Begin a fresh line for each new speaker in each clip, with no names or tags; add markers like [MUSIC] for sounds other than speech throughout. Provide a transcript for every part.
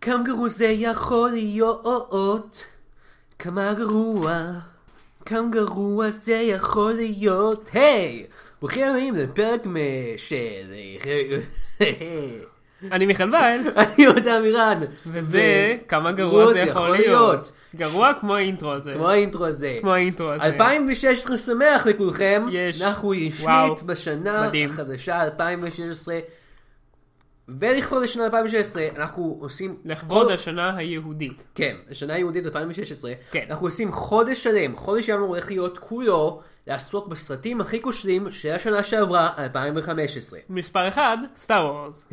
כמה גרוע זה יכול להיות, כמה גרוע, כמה גרוע זה יכול להיות. היי! ברוכים הבאים לפרק מ- של... [LAUGHS]
אני מיכל וייל,
אני יהודה אמירן.
וזה כמה גרוע זה יכול להיות. גרוע כמו האינטרו הזה.
כמו האינטרו הזה.
כמו האינטרו הזה.
2016 שמח לכולכם.
יש.
אנחנו רשמית
וואו.
בשנה
מדהים.
החדשה 2016. ולכבוד השנה 2016 אנחנו עושים...
לכבוד
כל-
השנה היהודית.
כן, השנה היהודית 2016.
כן.
אנחנו עושים חודש שלם, חודש שלנו הולך להיות כולו לעסוק בסרטים הכי כושלים של השנה שעברה, 2015.
[LAUGHS] מספר אחד, סטאר וורס.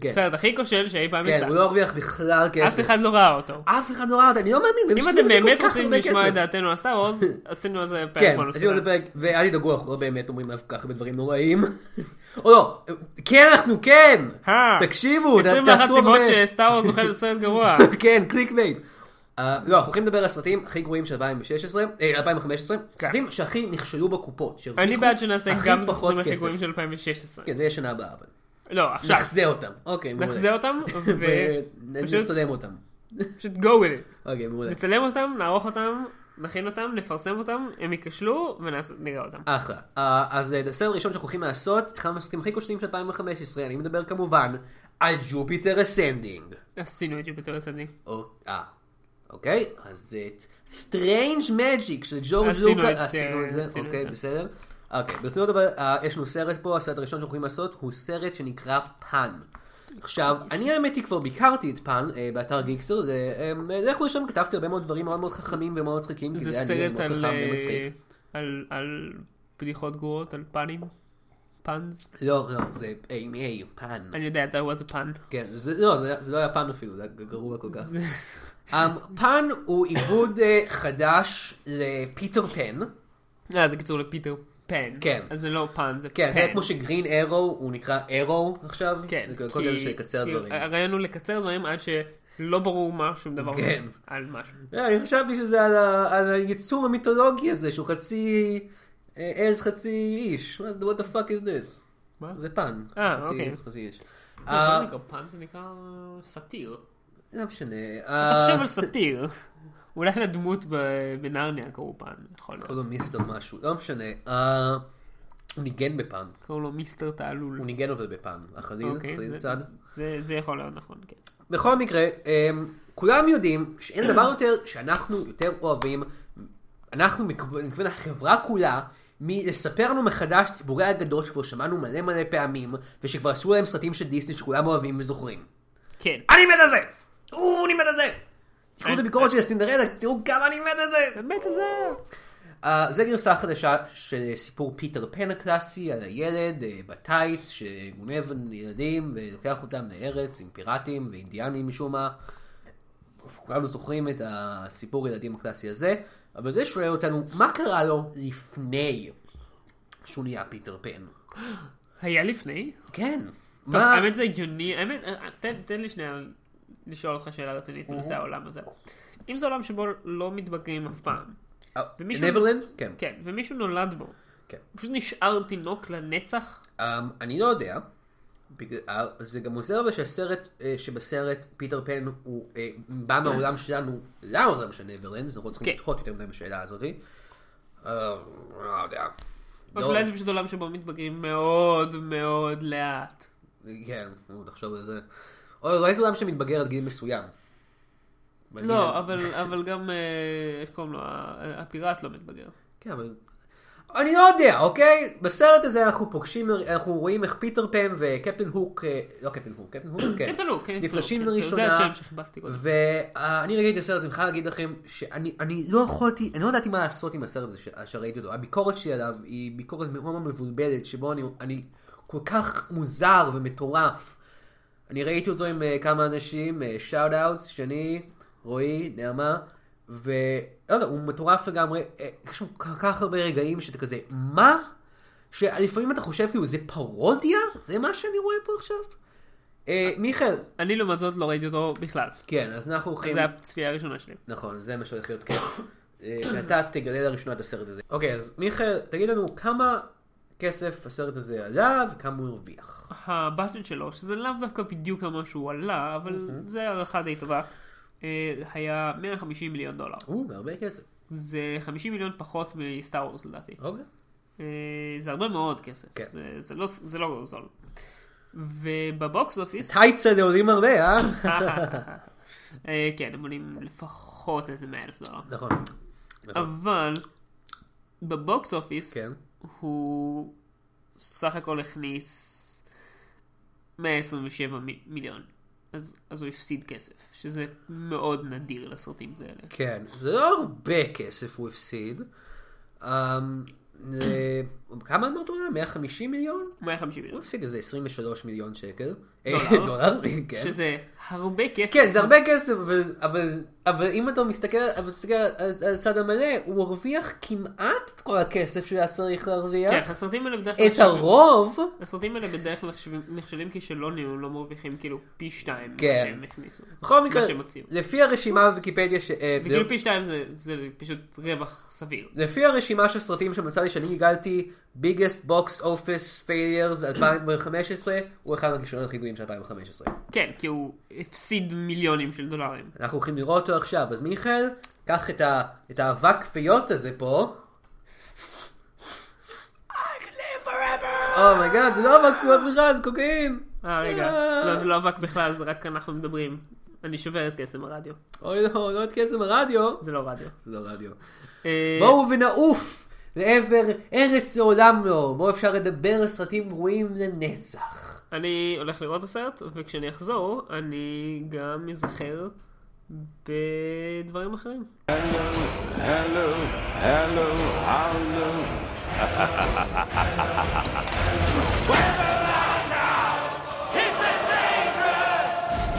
כן,
הסרט הכי כושל שאי פעם
כן,
יצא.
הוא לא הרוויח בכלל כסף.
אף אחד לא ראה אותו.
אף אחד לא ראה אותה, אני לא מאמין, הם
אם
השקיעו
אתם
בזה כל
באמת
כך
רוצים
הרבה
לשמוע
כסף.
את דעתנו על סטאר
[LAUGHS]
וורס, עשינו על זה פרק
כן,
בנושא.
עשינו על זה פרק, ואל תדאגו, אנחנו לא באמת אומרים אף כך הרבה דברים נוראים. [LAUGHS] או לא, כן אנחנו כן!
אה,
תקשיבו,
21
תעשו
סיבות
הרבה-
שסטאר וורס זוכה
[LAUGHS]
לסרט גרוע. [LAUGHS]
כן, קליק בייט. אה, לא, אנחנו הולכים לדבר על הסרטים הכי גרועים של 2016, אה, 2015,
כן.
סרטים שהכי נכשלו בקופות. שהרוויחו
אני בעד שנעשה
הכי
גם את
פחות
הסרטים הכי
כסף.
גרועים של 2016.
כן, זה יהיה שנה הבאה, אבל.
לא, עכשיו.
נחזה אותם. אוקיי, מעולה.
נחזה
[LAUGHS]
אותם, ופשוט
ונצלם אותם.
פשוט go with it.
אוקיי, מעולה.
נצלם אותם, נערוך אותם, נכין אותם, נפרסם אותם, הם ייכשלו ונראה אותם.
אחלה. אה, אז אה, הסרט הראשון שאנחנו הולכים לעשות, אחד מהסרטים הכי כושלים של 2015, אני מדבר כמובן על ג'ופיטר אסנדינג.
עשינו את ג'ופיטר הסנדינג.
או- אה, אוקיי, אז את סטרנג' מג'יק של ג'ו
עשינו את,
לוקה,
אה,
עשינו את זה,
עשינו את
אוקיי,
זה.
בסדר. אוקיי, ברצינות אבל, אה, יש לנו סרט פה, הסרט הראשון שאנחנו הולכים לעשות, הוא סרט שנקרא פאן. עכשיו,
אוקיי.
אני האמת היא כבר ביקרתי את פאן אה, באתר גיקסטר, זה, אה, לכו לשם כתבתי הרבה מאוד דברים מאוד מאוד חכמים ומאוד מצחיקים, כי
זה
זה היה נראה
סרט
מאוד
על,
חכם
אה,
ומצחיק.
על- על בדיחות גרועות, על פאנים. פאנס.
לא, לא, זה AMA, פאן.
אני יודע, that was a pun.
כן, זה, לא, זה, זה לא היה פן אפילו, זה היה גרוע כל כך. um, פן הוא עיבוד אה, חדש לפיטר פן.
אה, זה קיצור לפיטר פן.
כן.
אז זה לא פאן, זה
כן, זה
פן.
כמו שגרין ארו הוא נקרא ארו עכשיו.
כן,
זה כל כזה שיקצר
כי אה,
דברים.
הרעיון הוא לקצר דברים עד שלא ברור מה שום דבר
כן.
על משהו.
אה, אני חשבתי שזה על, ה, על היצור המיתולוגי הזה שהוא חצי אה, עז חצי איש. מה זה, what the fuck is this?
מה?
זה פן.
אה,
חצי
אוקיי.
עז חצי איש.
זה
אה,
לא נקרא פאן, זה נקרא סאטיר.
לא משנה.
תחשוב
אה,
על סאטיר. אולי לדמות ב- בנרניה קראו פאן, יכול להיות.
קוראים לו מיסטר משהו, לא משנה. אה, הוא ניגן בפן.
קראו לו מיסטר תעלול.
הוא ניגן אבל בפן. החליל,
אוקיי,
החליל
זה-
צד.
זה- זה יכול להיות נכון, כן.
בכל מקרה, אמ, כולם יודעים שאין דבר יותר שאנחנו יותר אוהבים, אנחנו מכוון החברה כולה, מלספר לנו מחדש סיפורי אגדות שכבר שמענו מלא מלא פעמים, ושכבר עשו להם סרטים של דיסני שכולם אוהבים וזוכרים.
כן.
אני מת על זה! או, אני מת על זה! תקראו את הביקורת של סינדרלה, תראו כמה אני מת על זה!
באמת זה...
Uh, זה גרסה חדשה של סיפור פיטר פן הקלאסי על הילד uh, בטייץ שגונב ילדים ולוקח אותם לארץ עם פיראטים ואינדיאנים משום מה. כולנו זוכרים את הסיפור ילדים הקלאסי הזה, אבל זה שואל אותנו מה קרה לו לפני שהוא נהיה פיטר פן.
היה לפני?
כן.
כן. טוב,
מה...
האמת זה הגיוני, האמת, אה, תן- תן לי שנייה לשאול אותך שאלה רצינית בנושא העולם הזה. אם זה עולם שבו לא מתבגרים אף פעם,
אה,
ומישהו-
נברלנד? כן.
כן, ומישהו נולד בו,
כן.
הוא פשוט נשאר תינוק לנצח?
Um, אני לא יודע. בגלל, אה, זה גם עוזר אבל שהסרט, אה, שבסרט פיטר פן הוא אה, בא מהעולם שלנו לעולם של נברלנד, אז אנחנו לא צריכים
כן.
לתהות יותר מדי בשאלה הזאת. אה, לא יודע.
או
לא-
שאולי זה פשוט עולם שבו מתבגרים מאוד מאוד לאט.
כן, נו, תחשוב על זה. או אולי זה עולם שמתבגר עד גיל מסוים.
לא, אבל אבל גם, אה, איך קוראים לו, ה- הפיראט לא מתבגר.
כן, אבל... אני לא יודע, אוקיי? בסרט הזה אנחנו פוגשים, אנחנו רואים איך פיטר פן וקפטן הוק, אה, לא קפטן הוק, קפטן הוק, כן.
כן, תלו, כן, תלו,
נפגשים
כן, זה-
לראשונה.
זה השם שחיפשתי קודם.
ואני ראיתי את הסרט הזה, אני חייב להגיד לכם שאני אני לא יכולתי, אני לא ידעתי מה לעשות עם הסרט הזה ש- שראיתי אותו. הביקורת שלי עליו היא ביקורת מאוד מבולבלת, שבו אני, אני כל כך מוזר ומטורף. אני ראיתי אותו עם אה, כמה אנשים, שאוט אאוטס, שני, רועי, נעמה, ולא יודע, הוא מטורף לגמרי. אה, יש שם כל כך הרבה רגעים שאתה כזה, מה? שלפעמים אתה חושב כאילו זה פרודיה? זה מה שאני רואה פה עכשיו? אה, מיכאל,
אני לעומת זאת לא ראיתי אותו בכלל.
כן, אז אנחנו הולכים...
זו הצפייה הראשונה שלי.
נכון, זה מה שהולך להיות כיף. אה, שאתה תגלה לראשונה את הסרט הזה. אוקיי, אז מיכאל, תגיד לנו כמה כסף הסרט הזה עלה וכמה הוא הרוויח.
הבטן שלו, שזה לאו דווקא בדיוק כמה שהוא עלה, אבל
אוקיי.
זה הערכה די טובה, אה, היה 150 מיליון דולר.
הוא, בהרבה כסף.
זה 50 מיליון פחות מסטאר וורס לדעתי.
אוקיי.
אה, זה הרבה מאוד כסף.
כן.
זה, זה, לא, זה לא זול. ובבוקס אופיס...
[LAUGHS] טייטס האלה עולים הרבה, אה?
אה, כן, הם עולים לפחות איזה 100 אלף דולר.
נכון. נכון.
אבל בבוקס אופיס
כן.
הוא סך הכל הכניס 127 מ- מיליון. אז, אז הוא הפסיד כסף, שזה מאוד נדיר לסרטים כאלה.
כן, זה לא הרבה כסף הוא הפסיד. אמ, זה- כמה אמרת עולה? 150 מיליון?
150
הוא
מיליון.
הפסיד איזה 23 מיליון שקל. אה,
דולר.
דולר, כן.
שזה הרבה כסף.
כן, זה הרבה כסף, אבל, אבל, אבל אם אתה מסתכל, אבל תסתכל על, על הצד המלא, הוא הרוויח כמעט את כל הכסף שהוא היה צריך להרוויח.
כן, הסרטים האלה בדרך
את הרוב,
הסרטים האלה בדרך כלל נחשבים- נכשלים כישלון אם הם לא מרוויחים כאילו פי שתיים ממה
כן.
שהם הכניסו.
בכל מקרה,
מה שהם הוציאו.
לפי הרשימה בוויקיפדיה, ש... אה,
וכאילו פי שתיים זה- זה פשוט רווח סביר.
לפי הרשימה של סרטים שמצאתי שאני גיגלתי, biggest box office failures 2015, הוא אחד מהכישלונות הכי גדולים של 2015.
כן, כי הוא הפסיד מיליונים של דולרים.
אנחנו הולכים לראות אותו עכשיו, אז מיכאל, קח את, ה... את האבק כפיות הזה פה. אומייגאד, זה לא אבק כפיות בכלל, זה קוקאין.
אה, רגע.
אה.
לא, זה לא אבק בכלל, זה רק אנחנו מדברים. אני שובר את קסם הרדיו.
אוי לא, לא את קסם הרדיו.
זה לא רדיו.
זה לא רדיו.
אה,
בואו ונעוף לעבר ארץ לעולם לא, בו אפשר לדבר על סרטים גרועים לנצח.
אני הולך לראות את הסרט, וכשאני אחזור, אני גם אזכר בדברים אחרים.
Hello, hello, hello.
This is dangerous!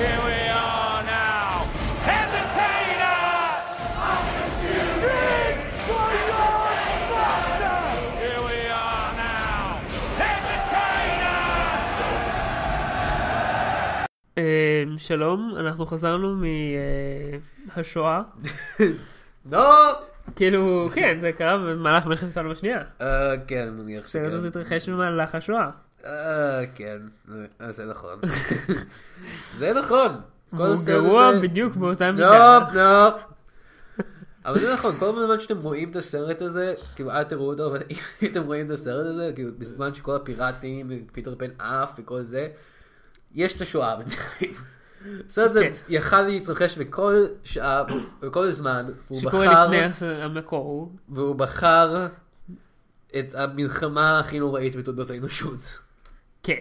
Here we are now! Hesitate us! Here we are now! Hesitate us!
אה, שלום, אנחנו חזרנו אה, מהשואה.
לא!
כאילו, כן, זה קרה במהלך מלחמת העולם השנייה.
אה, כן, אני מניח
הסרט
שכן.
הזה התרחש במהלך השואה.
אה, כן. אה, זה נכון. [LAUGHS] זה נכון. כל
הוא
הסרט
גרוע
הזה- לא,
בדיוק באותה מידה.
נופ, נופ. לא. אבל זה נכון, כל הזמן שאתם רואים את הסרט הזה, כאילו אל תראו אותו, אבל [LAUGHS] אם אתם רואים את הסרט הזה, כאילו בזמן שכל הפיראטים, פיטר פן עף וכל זה, יש את השואה בינתיים. הסרט הזה
כן.
יכל להתרחש בכל שעה, בכל זמן, והוא
שקורה
בחר,
לפני הס- המקור. הוא-
והוא בחר את המלחמה הכי נוראית בתולדות האנושות.
כן.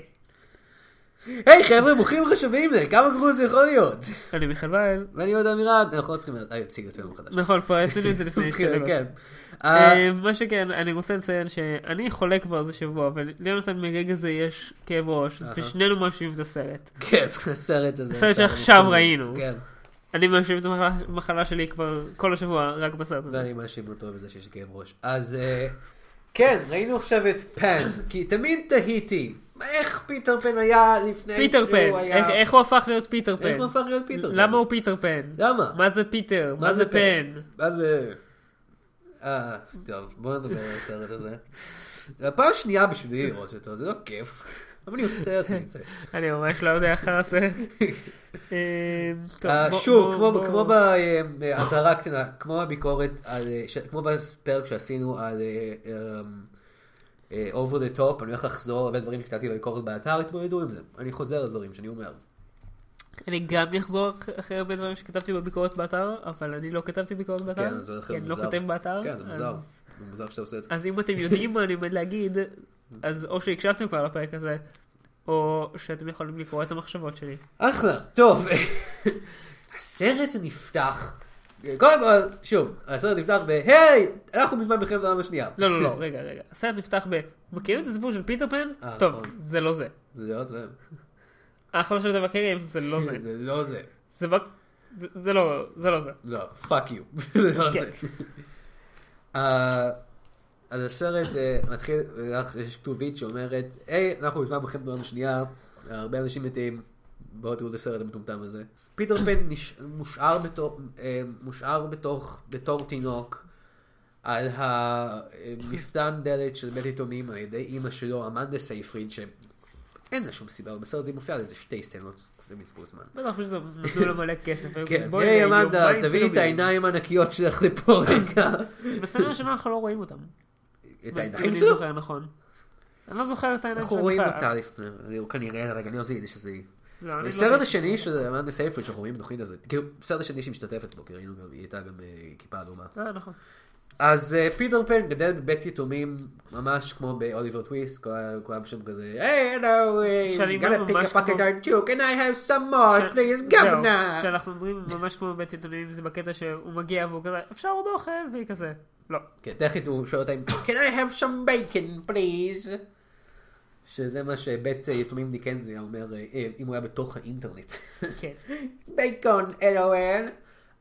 היי חבר'ה, ברוכים וחשובים לזה, כמה גרוע זה יכול להיות?
אני מיכל וייל.
ואני עוד אמירה, אנחנו לא צריכים להציג את עצמנו מחדש.
נכון, כבר עשינו את זה לפני שתי דקות.
כן.
אוקיי, אה, מה שכן, אני רוצה לציין שאני חולה כבר איזה שבוע, אבל ליונתן מרגע זה יש כאב ראש, ושנינו מאשימים את הסרט.
כן, [LAUGHS] הסרט הזה.
הסרט שעכשיו
אני-
ראינו.
כן,
אני מאשים את המחלה- המחלה שלי כבר כל השבוע, רק בסרט הזה.
ואני מאשים אותו בזה שיש לי כאב ראש. אז אה, כן, ראינו עכשיו את פן, כי תמיד תהיתי, איך פיטר פן היה לפני
פיטר
שהוא
פן,
היה-
איך- איך הוא הפך להיות פיטר פן?
איך הוא הפך להיות פיטר פן? לא.
למה הוא פיטר פן?
למה?
מה זה פיטר? מה זה פן?
מה זה... אה, טוב, בוא נדבר על הסרט הזה. זה הפעם שנייה בשבילי לראות אותו, זה לא כיף. אבל אני עושה לעצמי את זה.
אני ממש לא יודע אחר הסרט.
[LAUGHS]
אה, טוב,
אה,
בוא-
שוב,
בוא-
כמו-
בוא-
כמו באזהרה קטנה, כמו הביקורת, על, אה, ש- כמו בפרק שעשינו על אה, אה, אה, over the top, אני הולך לחזור הרבה דברים שכתבתי בביקורת באתר, התמודדו עם זה. אני חוזר על דברים שאני אומר.
אני גם אחזור אח- אחרי הרבה דברים שכתבתי בביקורת באתר, אבל אני לא כתבתי ביקורת באתר.
כן, זה הולך
כי
להיות
אני
מוזר.
לא כותב באתר.
כן, זה מוזר.
אז-
זה מוזר שאתה עושה את זה.
אז אם אתם יודעים מה אני עומד להגיד, אז או שהקשבתם כבר לפרק הזה, או שאתם יכולים לקרוא את המחשבות שלי.
אחלה, טוב. [LAUGHS] הסרט נפתח. קודם כל, שוב, הסרט נפתח ב-היי, אנחנו מזמן מלחמת העולם השנייה. [LAUGHS]
לא, לא, לא, רגע, רגע. הסרט נפתח ב... מכירים את הסיפור של פיטר פן?
אה,
טוב,
נכון.
זה לא זה.
זה לא זה.
האחרון שאתם מכירים, זה לא
[LAUGHS]
זה.
זה לא זה.
זה בק- זה- זה לא, זה לא זה.
לא, פאק יו. [LAUGHS] זה לא
כן.
זה. אה, אז הסרט אה, מתחיל, אה, יש כתובית שאומרת, היי, אנחנו בזמן מלחמת העולם השנייה, הרבה אנשים מתים, בואו תראו את הסרט המטומטם הזה. פיטר פן נש- מושאר בתור- אה, מושאר בתוך- בתור תינוק. על המפתן דלת של בית עיתונים על ידי אימא שלו, אמנדה סייפריד, שאין לה שום סיבה, אבל בסרט זה מופיע על איזה שתי סצנות, זה מזבוז זמן.
בטח פשוט נתנו לו מלא כסף.
כן,
בואי,
היי
יום,
אמנדה,
בואי
תביאי את
צילומים.
העיניים הענקיות שלך
[LAUGHS]
לפה רגע.
בסצנה הראשונה אנחנו לא רואים אותם.
את
אם
העיניים
אני
שלו?
זוכר נכון. אני לא זוכר את העיניים
אנחנו
שלהם
רואים
בכלל.
אותה לפני, הוא כנראה, רגע, אני עושה יידיש שזה היא.
לא, אני לא
הסרט
ראיתי.
השני של אמנדה סייפריד שאנחנו רואים בתוכנית הזאת, כאילו, הסרט השני שהיא משתתפת בו, כי ראינו גם, היא הייתה גם אה, כיפה אדומה.
אה, נכון.
אז אה, פיטר פן גדל בבית יתומים, ממש כמו באוליבר טוויסט, כל- כולם שם כזה, היי, הלו,
שאני אומר
gotta pick
ממש
a pocket
כמו-
darn joke, and I have some more,
ש-
please,
זהו,
governor.
כשאנחנו אומרים ממש כמו בית עיתונים זה בקטע שהוא מגיע והוא כזה אפשר עוד אוכל והיא כזה לא.
כן, טכנית הוא שואל אותה, אם, can I have some bacon, please? שזה מה שבית אה, יתומים דיקנזי היה אומר, אה, אה, אם הוא היה בתוך האינטרנט.
כן.
בייקון, LOL.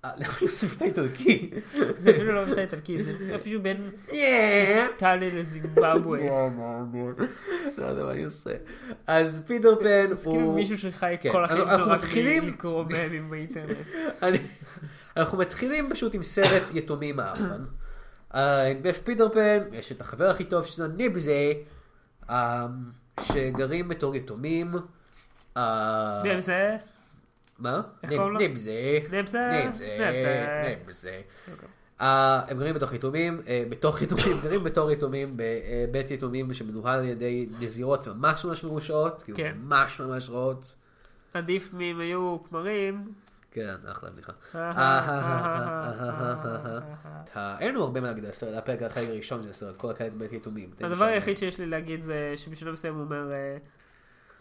אה, למה הוא מוסיף את האיטלקי?
זה אפילו לא מבטא איטלקי זה אפילו בין
Yeah.
טלי לזימבבואה.
לא, לא, לא. לא יודע מה אני עושה. אז פיטר פן
זה כאילו
הוא...
מישהו שחי
כן,
כל החיים
אנחנו- אנחנו
שלו רק
מתחילים-
לקרוא ממים באינטרנט.
אני- אנחנו מתחילים פשוט עם סרט יתומים האחרון. אה, יש פיטר פן, יש את החבר הכי טוב שזה ניבזה, אה, שגרים בתור יתומים. אה,
גם זה?
מה?
איך קוראים לו?
ניבזה.
ניבזה,
ניבזה.
ניבזה.
ניבזה. אה, הם גרים בתוך יתומים, אה, בתוך יתומים, גרים בתור יתומים, בבית יתומים שמנוהל על ידי נזירות ממש ממש מרושעות, כאילו
כן.
ממש ממש רעות.
עדיף מאם היו כמרים.
כן, אחלה בדיחה.
הדבר
אה, אין לנו הרבה מה להגיד על הסרט, הפרק החלק הראשון של הסרט, כל הקלט בית יתומים.
היחיד שיש לי להגיד זה שבשלב מסוים הוא אומר, אה,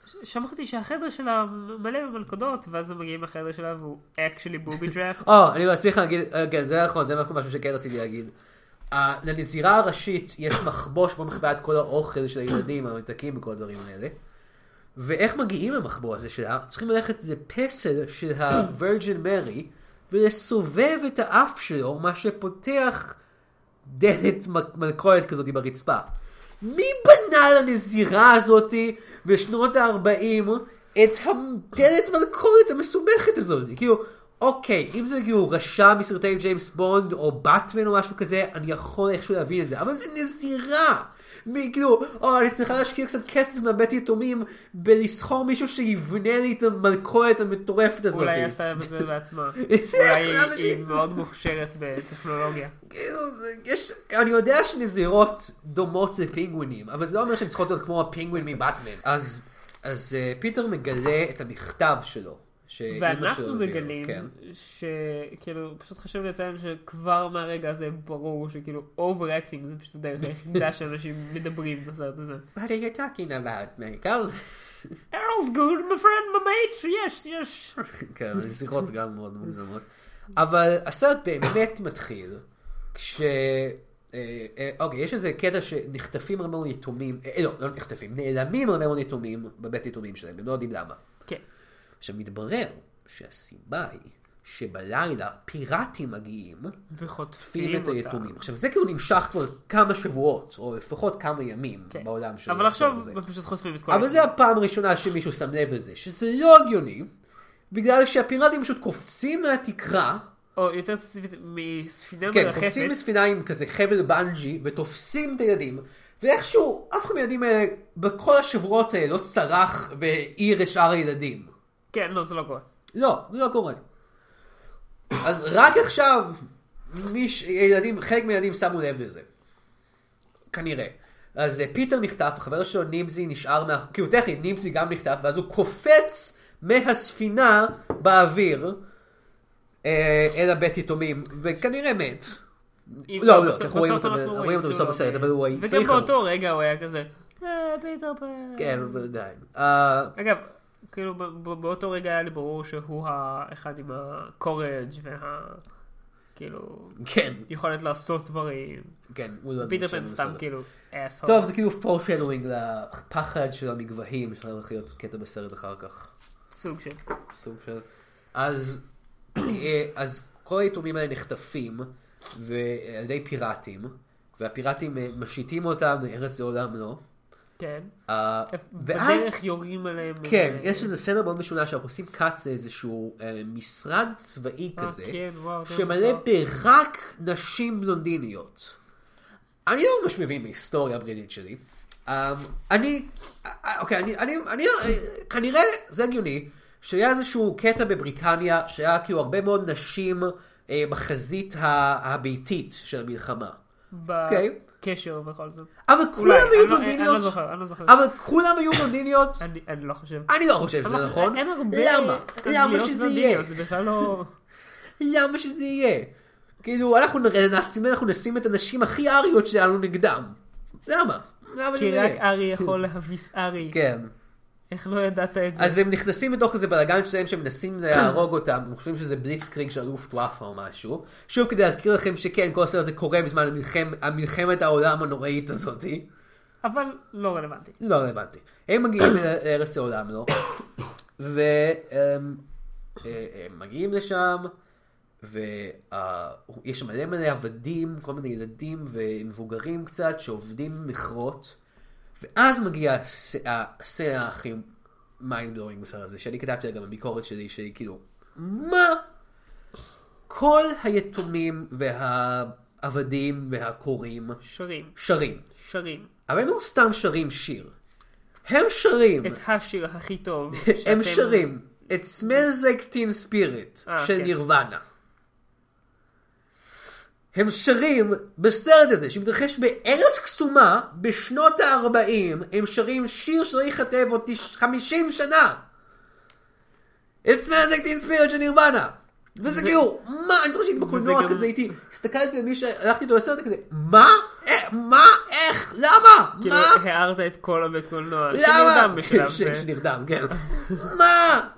"ש- שמעתי שהחדר שלה מלא במלכודות, ואז הם מגיעים לחדר שלה והוא אקשלי בובי טראפ.
או, אני מצליח להגיד, אה, כן, זה נכון, זה נכון משהו שכן רציתי להגיד. אה, לנזירה הראשית יש מחבוא שבו מחבאה את כל האוכל של הילדים, הממתקים וכל הדברים האלה. ואיך מגיעים למחבוא הזה שלה? צריכים ללכת לפסל של הווירג'ן מרי ולסובב את האף שלו, מה שפותח דלת מ- מלכודת כזאת ברצפה. מי בנה לנזירה הזאתי בשנות ה-40 את הדלת מלכודת המסובכת הזאת? כאילו, אוקיי, אם זה כאילו רשע מסרטי ג'יימס בונד או באטמן או משהו כזה, אני יכול איכשהו להבין את זה, אבל זה נזירה! מי כאילו, או אני צריכה להשקיע קצת כסף מהבית יתומים בלסחור מישהו שיבנה לי את המלכודת המטורפת הזאת.
אולי היא עשתה את
[LAUGHS]
זה בעצמה.
זה
אולי
אחלה
היא- היא
בדיחה.
מאוד מוכשרת בטכנולוגיה.
כאילו, זה- יש, אני יודע שנזירות דומות לפינגווינים, אבל זה לא אומר שהן צריכות להיות כמו הפינגווין מבטמן. אז, אז אה, פיטר מגלה את המכתב שלו. שאימא שלו
ואנחנו
הביאה לו,
מגלים
כן.
שכאילו, פשוט חשוב לציין שכבר מהרגע הזה ברור שכאילו overacting זה פשוט הדרך
[LAUGHS]
היחידה שאנשים מדברים בסרט הזה.
What are you talking about, מייקל?
Errol's good, my friend, my mate, yes, yes.
כן, נזירות גם מאוד מוגזמות. אבל הסרט באמת מתחיל כש... אה, אה, אוקיי, יש איזה קטע שנחטפים הרבה מאוד יתומים, אה, לא, לא נחטפים, נעלמים הרבה מאוד יתומים בבית יתומים שלהם, הם לא יודעים למה.
כן,
עכשיו מתברר שהסיבה היא שבלילה פיראטים מגיעים,
וחוטפים
פילים את
אותה.
היתומים. עכשיו זה כאילו נמשך כבר כמה שבועות, או לפחות כמה ימים
כן.
בעולם של
אבל
הסרט
עכשיו
הזה.
הם פשוט חושפים את כל
אבל
היתומים.
זה הפעם הראשונה שמישהו שם לב לזה, שזה לא הגיוני, בגלל שהפיראטים פשוט קופצים מהתקרה,
או יותר ספציפית, מספינה
כן,
מרחפת.
קופצים מספינה עם כזה חבל בנג'י, ותופסים את הילדים, ואיכשהו אף אחד מהילדים האלה, בכל השבועות האלה, לא צרח והעיר את שאר הילדים.
כן, לא, זה לא קורה.
לא, זה לא קורה. אז רק עכשיו, מיש, ילדים, חלק מהילדים שמו לב לזה. כנראה. אז אה, פיטר נחטף, החבר שלו נימזי נשאר, מה... כאילו טכנית נימזי גם נחטף, ואז הוא קופץ מהספינה באוויר אה, אל הבית יתומים, וכנראה מת.
אם-
לא, לא,
בסוף-
אנחנו רואים
בסוף
אותו ב-
אנחנו
רואים
רואים
אותו
שהוא
בסוף
לא
הסרט,
מת.
אבל הוא היה
וגם
צריך למות.
באותו רגע הוא היה כזה, אה, פיטר פן.
כן, אבל עדיין. אה,
אגב, כאילו ב- ב- באותו רגע היה לי ברור שהוא האחד עם ה-courage וה... כאילו...
כן,
יכולת לעשות דברים.
כן. הוא לא
פיטר
נחשב
פן סתם
בסרט.
כאילו אסהול.
טוב, זה כאילו פורשדווינג לפחד של המגבהים, שאתה הולך להיות קטע בסרט אחר כך.
סוג של.
סוג של... אז, אה, אז כל היתומים האלה נחטפים ו- על ידי פיראטים, והפיראטים אה, משיתים אותם לארץ לעולם לא.
כן.
אה, ואז,
בדרך יורים עליהם.
כן,
אה,
יש איזה סצנה מאוד משונה שאנחנו עושים קאט לאיזשהו אה, משרד צבאי
אה,
כזה,
כן, וואו, זה
שמלא
מוזר.
ברק נשים בלונדיניות. אני לא ממש מבין בהיסטוריה הבריטית שלי. אמ, אני, אה, אה, אוקיי, אני, אני, אני, אה, כנראה זה הגיוני, שהיה איזשהו קטע בבריטניה שהיה כאילו הרבה מאוד נשים אה, בחזית ה- הביתית של המלחמה. אוקיי.
בקשר בכל זאת.
אבל
אולי,
כולם היו
אני לא- אני לא
בלונדיניות,
זוכר, אני לא זוכר.
אבל כולם היו בלונדיניות.
אני אני לא חושב.
אני לא חושב שזה
אבל
נכון.
אין הרבה...
למה? למה
אנגליות
שזה יהיה?
בלונדיניות, זה בכלל לא...
למה שזה יהיה? כאילו, אנחנו נראה לנאצים, אנחנו נשים את הנשים הכי אריות שלנו נגדם. למה? למה שזה
כי רק
יהיה?
ארי יכול להביס ארי.
כן.
איך לא ידעת את זה?
אז הם נכנסים לתוך איזה בלאגן שלהם
[CLEARS THROAT]
שמנסים להרוג אותם, הם חושבים שזה בליצקריג של לופטואפה או משהו. שוב כדי להזכיר לכם שכן, כל הסרט הזה קורה בזמן המלחמ- המלחמת העולם הנוראית הזאתי.
אבל לא רלוונטי.
לא רלוונטי. הם מגיעים [COUGHS] אל- לארץ העולם, לא? והם אה, מגיעים לשם, ויש שם מלא מלא עבדים, כל מיני ילדים ומבוגרים קצת, שעובדים במכרות, ואז מגיעה הסצנה הכי mind blowing בסרט הזה, שאני כתבתי לה גם בביקורת שלי, שהיא כאילו, מה? כל היתומים והעבדים והקוראים
שרים,
שרים.
שרים.
אבל הם לא סתם שרים שיר. הם שרים,
את השיר הכי
[LAUGHS]
טוב.
הם
שאתם-
שרים את Smells Like Teen Spirit
אה,
של
כן.
נירוונה. הם שרים בסרט הזה שמתרחש בארץ קסומה בשנות ה-40, הם שרים שיר שלא ייכתב עוד תש- 50 שנה. את Smells Like Teen Spirit של נירוונה. וזה כאילו, מה, אני זוכר שהייתי
גם-
בקולנוע כזה הייתי, הסתכלתי על מי שהלכתי איתו לסרט כזה, מה? אה, מה? איך? למה?
כאילו,
מה?
הערת את כל הבית קולנוע.
למה?
שנרדם
[LAUGHS]
בשלב
ש-
זה.
שנרדם, כן. מה?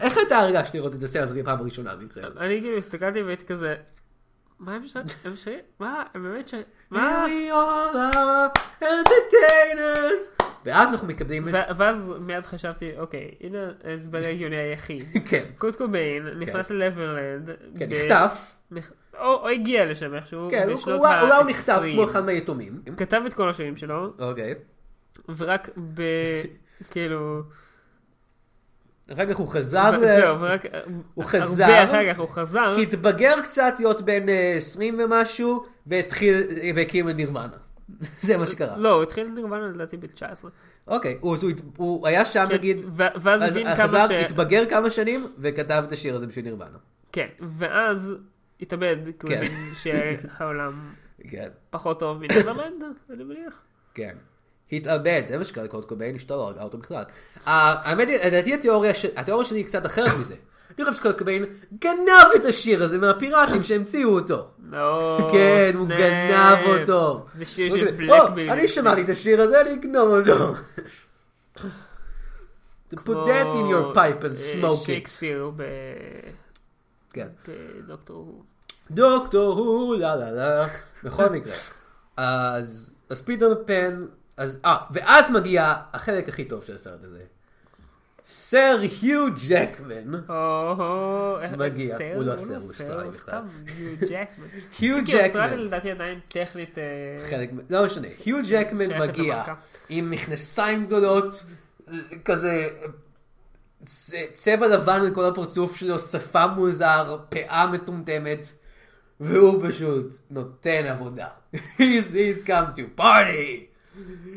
איך אתה הרגשת לראות את הסרט הזה בפעם הראשונה במקרה? הזה?
אני כאילו הסתכלתי והייתי כזה, מה הם שרים? הם שרים? מה? הם באמת שרים? מה?
Here we all are entertainers. ואז אנחנו מקבלים את...
ו- ואז מיד חשבתי, אוקיי, הנה ההסבר הגיוני
[LAUGHS]
היחיד.
כן.
קוט קוביין נכנס ללברלנד.
כן,
ב-
נחטף.
נכ- או או הגיע לשם איכשהו.
כן, הוא-
בשנות
הוא אולי הוא נחטף
ה-עשרים.
כמו אחד מהיתומים.
כתב את כל השירים שלו,
אוקיי.
ורק ב...
[LAUGHS]
כאילו...
אחר כך הוא חזר,
ו-
ל-
[LAUGHS] זהו, ורק...
הוא חזר.
הרבה אחר כך הוא חזר.
התבגר קצת להיות בן אה, 20 ומשהו, והתחיל, והקים את נירוונה. [LAUGHS] זה מה שקרה.
לא, הוא התחיל לנרמל לדעתי ב-19.
אוקיי, הוא- הוא הת- הוא היה שם
כן.
נגיד,
ואז
אז
הבין כמה
חזר,
ש...
התבגר כמה שנים, וכתב את השיר הזה בשביל נירוונה.
כן, ואז התאבד, כי הוא
כן.
הבין שהעולם
כן,
פחות טוב מנרמלנד, אני מניח.
כן. התאבד, זה מה שקרה לקוד קוביין, אשתו לא הרגה אותו בכלל. אה, האמת היא, לדעתי התיאוריה, ש- התיאוריה שלי היא קצת
[COUGHS]
אחרת מזה. אני חושב שקוד קוביין גנב את השיר הזה מהפיראטים שהמציאו אותו.
לא,
כן, הוא
סנאפ.
גנב אותו.
זה שיר
הוא
של
כזה,
בלקביל.
"או, אני שמעתי את השיר הזה, אני אגנוב
[COUGHS]
אותו. To put that in your pipe and
אה,
smoke it.
שייקספיר ב...
כן.
בדוקטור הוא.
דוקטור הוא, לה לה לה, בכל מקרה. אז, אז פיטר פן, אז, אה, ואז מגיע החלק הכי טוב של הסרט הזה. סר היו ג'קמן,
או-הו, איך-
מגיע.
סר?
הוא לא סר,
לא
הוא אוסטרלי
הוא
בכלל.
סתם יו ג'קמן.
[LAUGHS] היו
כי אוסטרליה
ג'קמן,
לדעתי עדיין טכנית... אה,
חלק, מ- לא משנה, היו ג'קמן
שייכת
מגיע
למלכה.
עם מכנסיים גדולות, כזה צ- צבע לבן על כל הפרצוף שלו, שפה מוזר, פאה מטומטמת, והוא פשוט נותן עבודה. [LAUGHS] he's, he's come to party!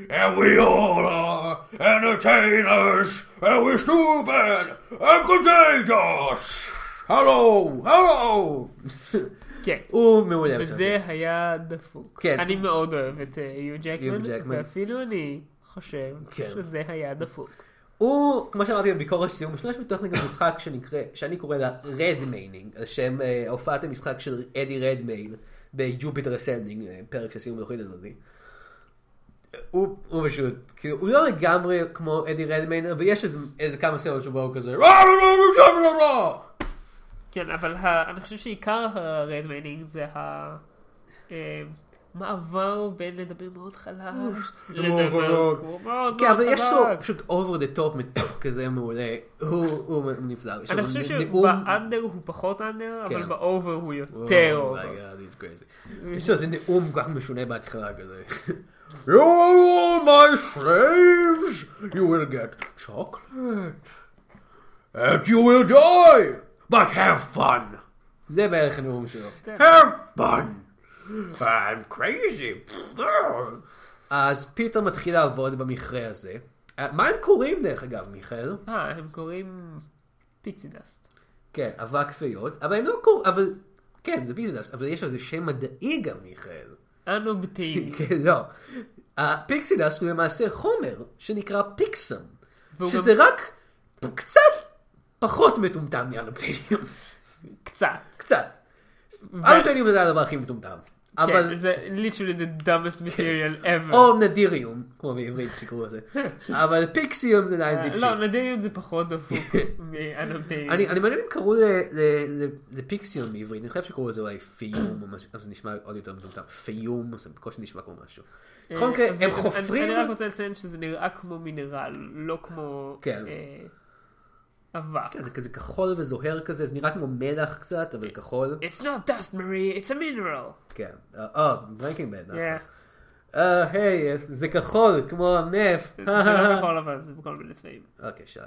And we all are entertainers, and we're stupid and contagious.
הלו, הלו!
כן.
[LAUGHS] הוא מעולה בסרט הזה.
זה היה דפוק.
כן.
אני מאוד אוהב את אה, יו ג'קמן,
ג'קמן.
ואפילו אני חושב
כן.
שזה היה דפוק.
הוא, כמו שאמרתי בביקורת שלי, הוא משתמש בטכניקת משחק שנקרא, שאני קורא לה רדמיינינג, על שם אה, הופעת המשחק של אדי רדמיין בג'ופיטר אסנדינג, אה, פרק שעשינו בתוכנית הזאת. הוא, הוא פשוט, כאילו, הוא לא לגמרי כמו אדי רדמיין, אבל יש איזה, איזה כמה סרט שבו הוא כזה, "רא, רא, רא, רא, רא, רא, רא."
כן, אבל ה- אני חושב שעיקר הרדמיינינג זה ה- אה, מעבר בין לדבר מאוד חלש, לדבר
מונולוג.
כמו מאוד
כן,
מאוד
אבל יש לו
חלש.
פשוט over the top [COUGHS] כזה מעולה, הוא, הוא נפלא. יש
אני
לו
חושב
נאום-
שבאנדר הוא פחות אנדר, אבל
כן.
באובר הוא יותר
Oh
אובר.
my God, he's crazy. יש לו איזה נאום כל כך משונה בהתחלה כזה. You are all my slaves, you will get chocolate, and you will die, but have fun. זה בערך הנאום שלו. have fun,
I'm crazy.
אז פיטר מתחיל לעבוד במכרה הזה. אה, מה הם קוראים דרך אגב, מיכאל?
אה, הם קוראים פיצי דאסט.
כן, אבק פיות, אבל הם לא קוראים, אבל... כן, זה ביזנס, אבל יש לזה שם מדעי גם, מיכאל.
אנו בטעים.
כן, לא. הפיקסידס הוא למעשה חומר שנקרא פיקסם,
והוא
שזה רק קצת פחות מטומטם מאלופטיניום.
קצת.
[LAUGHS] קצת. אלופטיניום זה הדבר הכי מטומטם. אבל... כן. Oh,
כן, זה literally the dumbest material ever.
או נדיריום, כמו בעברית שקראו
[LAUGHS]
לזה. אבל פיקסיום זה עדיין דיפ שיט.
לא, נדירים זה פחות דפוק
[LAUGHS]
מאנופטינים.
אני אני מעניין אם קראו ל- ל- ל- לפיקסיום בעברית, אני חושב שקראו לזה אולי פיום, או משהו, אבל זה נשמע עוד יותר מטומטם. פיום, זה בקושי נשמע כמו משהו. בכל מקרה, הם חופרים...
אה, אני רק רוצה לציין שזה נראה כמו מינרל, לא כמו
כן.
אה, אבק.
כן, זה כזה כחול וזוהר כזה, זה נראה כמו מלח קצת, אבל כחול.
It's not dust, Marie, it's a mineral.
כן. אה, אה, ברקינג בד. [LAUGHS]
Yeah.
אה, היי, זה כחול, כמו הנפט.
[LAUGHS] זה לא בכל אבל, זה בכל מיני צבעים.
אוקיי, שלב.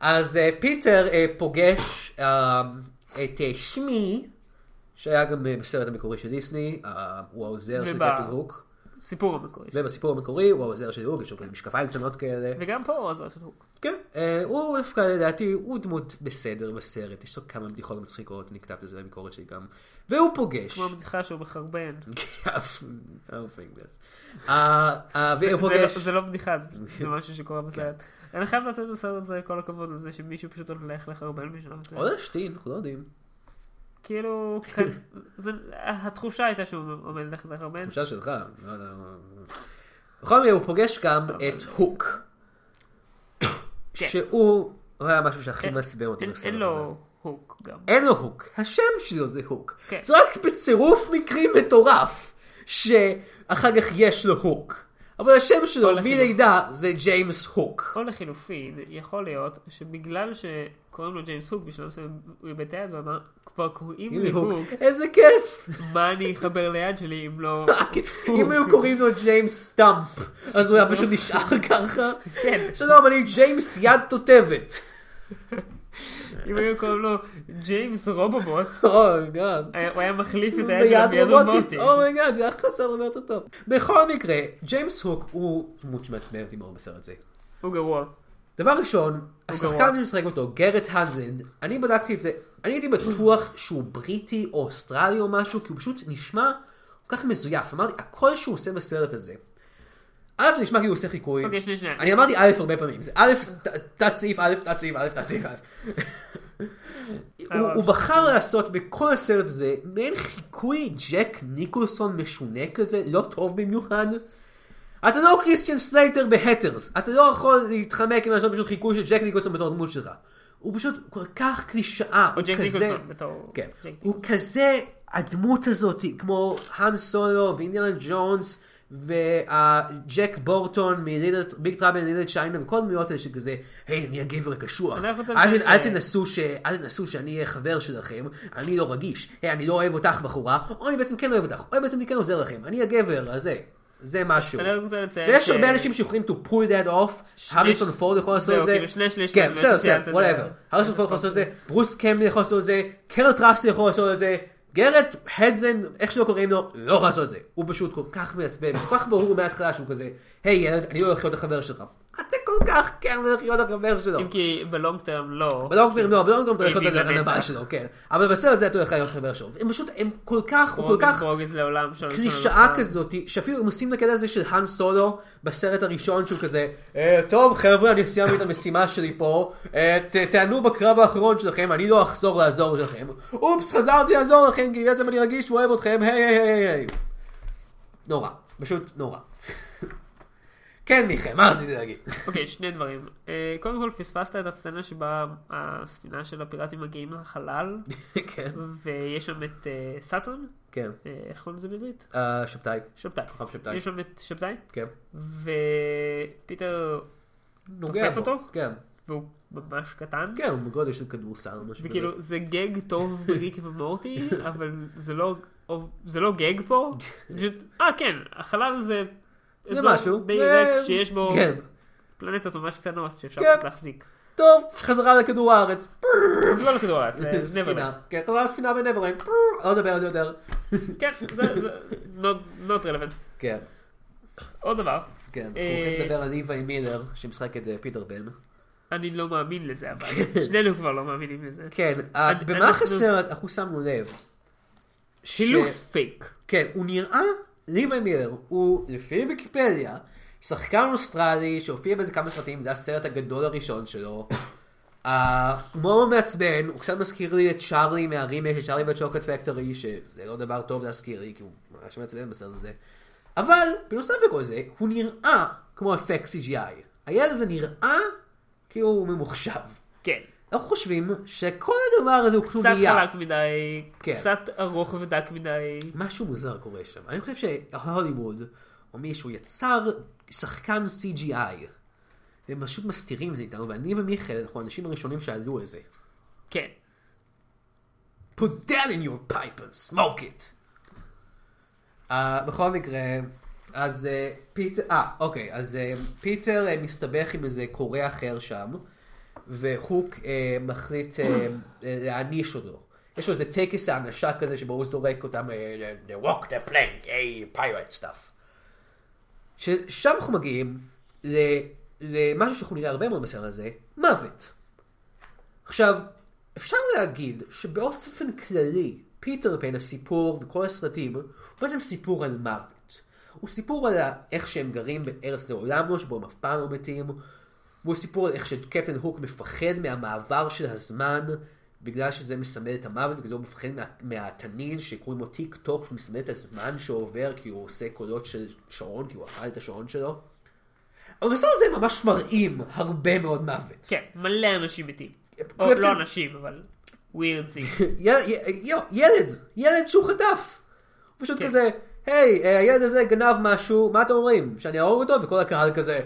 אז אה, פיטר אה, פוגש אה, את אה, שמי, שהיה גם אה, בסרט המקורי של דיסני, אה, הוא העוזר של
וב-
קפטן הוק.
סיפור המקורי.
ובסיפור המקורי הוא העוזר של הוק, יש לו כזה משקפיים קטנות כאלה.
וגם פה הוא עוזר של הוק.
כן, אה, הוא דווקא לדעתי, הוא דמות בסדר בסרט, יש לו כמה בדיחות מצחיקות, אני כתבתי לזה בביקורת שלי גם. והוא פוגש.
כמו הבדיחה שהוא מחרבן.
I don't think that's- אה, אה, והוא
זה לא-
פוגש... כן.
זה לא בדיחה, זה פשוט- זה משהו שקורה בסרט. אני חייב לתת לסרט הזה כל הכבוד על זה שמישהו פשוט הולך לחרבן בשלב הזה.
או להשתין, אנחנו לא יודעים. [LAUGHS]
כאילו, כ- זה- התחושה הייתה שהוא עומד ללכת לחרבן.
תחושה שלך. לא יודע. בכל מקרה, הוא פוגש גם את הוק.
כן.
שהוא, הוא היה משהו שהכי
אין-
מעצבן אותי
אין-
בסרט
אה, אין
הזה.
לו הוק גם.
אין לו הוק, השם שלו זה הוק.
כן.
זה רק בצירוף מקרים מטורף, שאחר כך יש לו הוק. אבל השם שלו
או לחילוף.
מלידה זה ג'יימס הוק.
או לחילופין, יכול להיות שבגלל שקוראים לו ג'יימס הוק, בשלב מסוים הוא איבד את היד ואמר, כבר קוראים לי הוק,
איזה כיף!
מה אני אחבר ליד שלי
[LAUGHS]
אם לא...
אם היו קוראים לו ג'יימס סטאמפ, אז הוא היה פשוט נשאר ככה.
כן.
שלום, אני ג'יימס יד תותבת.
אם היו קוראים לו ג'יימס רובובוט,
אוי, גאד.
היה- הוא היה מחליף את היד שלו
ביד
ביד
רובוטית,
רובוטית.
אומייגאד, זה היה חסר הרבה יותר טוב. בכל מקרה, ג'יימס הוק הוא דמות שמעצבן אותי מאוד בסרט זה.
הוא גרוע.
דבר ראשון,
גרוע.
השחקן שמשחק אותו, גרט הנזנד, אני בדקתי את זה, אני הייתי בטוח שהוא בריטי או אוסטרלי או משהו, כי הוא פשוט נשמע כל כך מזויף. אמרתי, הכל שהוא עושה בסרט הזה, א', זה נשמע כאילו הוא עושה חיקוי.
אוקיי, שנייה, שנייה.
אני אמרתי א' הרבה פעמים, זה א', ת- תת סעיף א', תת סעיף א', תת סעיף
[LAUGHS]
א'.
אה,
הוא- הוא בחר לעשות בכל הסרט הזה מעין חיקוי ג'ק ניקולסון משונה כזה, לא טוב במיוחד. אתה לא קריסטיאן סלייטר בהטרס, אתה לא יכול להתחמק עם לעשות פשוט חיקוי של ג'ק ניקולסון בתור דמות שלך. הוא פשוט כל כך קלישאה,
או
הוא
ג'ק
כזה...
ניקולסון בתור...
כן.
ג'ק
הוא כזה, הדמות הזאת, כמו האן סולו ואינדיאנה ג'ונס וג'ק בורטון מביג טראבל לידד שיינה וכל הדמויות האלה שכזה, היי, אני הגבר הקשוח.
אני רק רוצה
אל-
לציין
אל
ש-
תנסו ש- אל תנסו שאני אהיה חבר שלכם, אני לא רגיש. היי, אני לא אוהב אותך בחורה, או אני בעצם כן אוהב אותך, או אני בעצם אני כן עוזר לכם, אני הגבר, אז זה. זה משהו.
אני רק רוצה לציין
ויש
ש-
הרבה אנשים שיכולים to pull that off, הריסון פורד יכול לעשות
זהו,
את זה.
כאילו, שני אוקיי. שליש
כן,
מהם
בסדר,
שציינת
בסדר,
את זה.
וואטאבר. הריסון פורד יכול לעשות את זה, ברוס קמלי יכול לעשות את זה, קרל טראסטי יכול לעשות את זה, גרט הדזן, איך שלא קוראים לו, לא יכול לעשות את זה. הוא פשוט כל כך מעצבן, כל כך ברור מההתחלה שהוא כזה, היי ילד, אני לא הולך להיות החבר שלך. אתה כל כך כן הולך להיות החבר שלו.
אם כי בלונג טרם לא.
בלונגרם לא, בלונגרם אתה הולך
הביא
להיות
לנצח.
הנבל שלו, כן. אבל בסרט זה אתה הולך להיות חבר שלו. הם פשוט, הם כל כך, הוא כל כך...
ברוגז לעולם שלא נשמע
קלישאה
לנו.
כזאת, שאפילו הם עושים את הקטע הזה של האן סולו בסרט הראשון שהוא כזה, "אה, טוב חבר'ה אני סיימתי את המשימה שלי פה, אה, ת- תענו בקרב האחרון שלכם, אני לא אחזור לעזור לכם, אופס חזרתי לעזור לכם כי בעצם אני רגיש ואוהב אתכם, היי היי היי היי. נורא, פשוט נורא. [LAUGHS] כן מיכאל, מה רציתי להגיד? [LAUGHS]
אוקיי, שני דברים. אה, קודם כל, פספסת את הסצנה שבה הספינה של הפיראטים מגיעים
[LAUGHS]
לחלל,
כן,
ויש שם את אה, סאטרן,
כן,
אה, איך קוראים לזה בעברית?
אה, שבתאי,
שבתאי.
כוכב שבתאי,
יש שם את שבתאי,
כן.
ופיטר
נוגע
תופס
בו.
אותו?
כן,
והוא ממש קטן.
כן, הוא בגודל של כדורסל או משהו כזה.
וכאילו זה כאילו גג
[LAUGHS]
טוב בריקי ומורטי, אבל זה לא, או- זה לא גג פה, זה פשוט, אה כן, החלל זה
זה
אזור
משהו.
די
זה-
ריק שיש בו
כן.
פלנטות ממש קטנות שאפשר
כן.
פשוט להחזיק.
טוב, חזרה לכדור הארץ. [LAUGHS]
לא לכדור הארץ, זה
ספינה.
נברלנד.
כן, חזרה לספינה בנברלנד. לא נדבר על זה יותר.
כן, זה זה- not- not relevant.
כן,
עוד דבר,
כן. אנחנו
אה,
הולכים לדבר על איוואי מילר, שמשחק את אה, פיטר בן.
אני לא מאמין לזה, אבל שנינו כבר לא מאמינים לזה.
כן, אה,
אני-
במה
אנחנו-
חסר, אנחנו שמנו לב. ש-
He looks fake.
כן, הוא נראה, ליבי מילר, הוא לפי ויקיפדיה, שחקן אוסטרלי שהופיע באיזה כמה סרטים, זה הסרט הגדול הראשון שלו. המומו מעצבן, הוא קצת מזכיר לי את צ'ארלי מהרימי של צ'ארלי והצ'וקלט פקטורי, שזה לא דבר טוב להזכיר לי, כי הוא ממש מעצבן בסרט הזה. אבל, בנוסף לכל זה, הוא נראה כמו אפקט CGI. הילד הזה נראה כאילו הוא ממוחשב.
כן.
אנחנו חושבים שכל הדבר הזה הוא
קצת
כלומייה.
חלק מדי,
כן.
קצת ארוך ודק מדי.
משהו מוזר קורה שם. אני חושב שהוליווד, או מישהו, יצר שחקן CGI. הם פשוט מסתירים את זה איתנו, ואני ומיכאל, אנחנו האנשים הראשונים שעלו על זה.
כן.
put that in your pipe and smoke it. Uh, בכל מקרה, אז אה, פיטר, אה, אוקיי, אז אה, פיטר אה, מסתבך עם איזה קורא אחר שם, והוק אה, מחליט אה, אה, להעניש אותו. יש לו איזה טקס האנשה כזה שבו הוא זורק אותם, אה, they walk the plank, a pirate stuff. ששם אנחנו מגיעים ל- למשהו שאנחנו נראה הרבה מאוד בסרט הזה, מוות. עכשיו, אפשר להגיד שבאופן כללי, פיטר פן, הסיפור וכל הסרטים, הוא בעצם סיפור על מוות. הוא סיפור על ה- איך שהם גרים בארץ לעולם לא, שבו הם אף פעם לא מתים. והוא סיפור על איך שקפטן הוק מפחד מהמעבר של הזמן, בגלל שזה מסמל את המוות, בגלל זה הוא מפחד מה, מהתנין שקוראים לו טיק טוק, שהוא מסמל את הזמן שעובר, כי הוא עושה קולות של שעון, כי הוא אכל את השעון שלו. אבל בסרט הזה ממש מראים הרבה מאוד מוות.
כן, מלא אנשים מתים.
קפטן-
או לא אנשים, אבל weird things.
ילד, ילד, ילד שהוא חטף. הוא פשוט
כן.
כזה, היי, אה, הילד הזה גנב משהו, מה אתם אומרים? שאני אהרוג אותו? וכל הקהל כזה,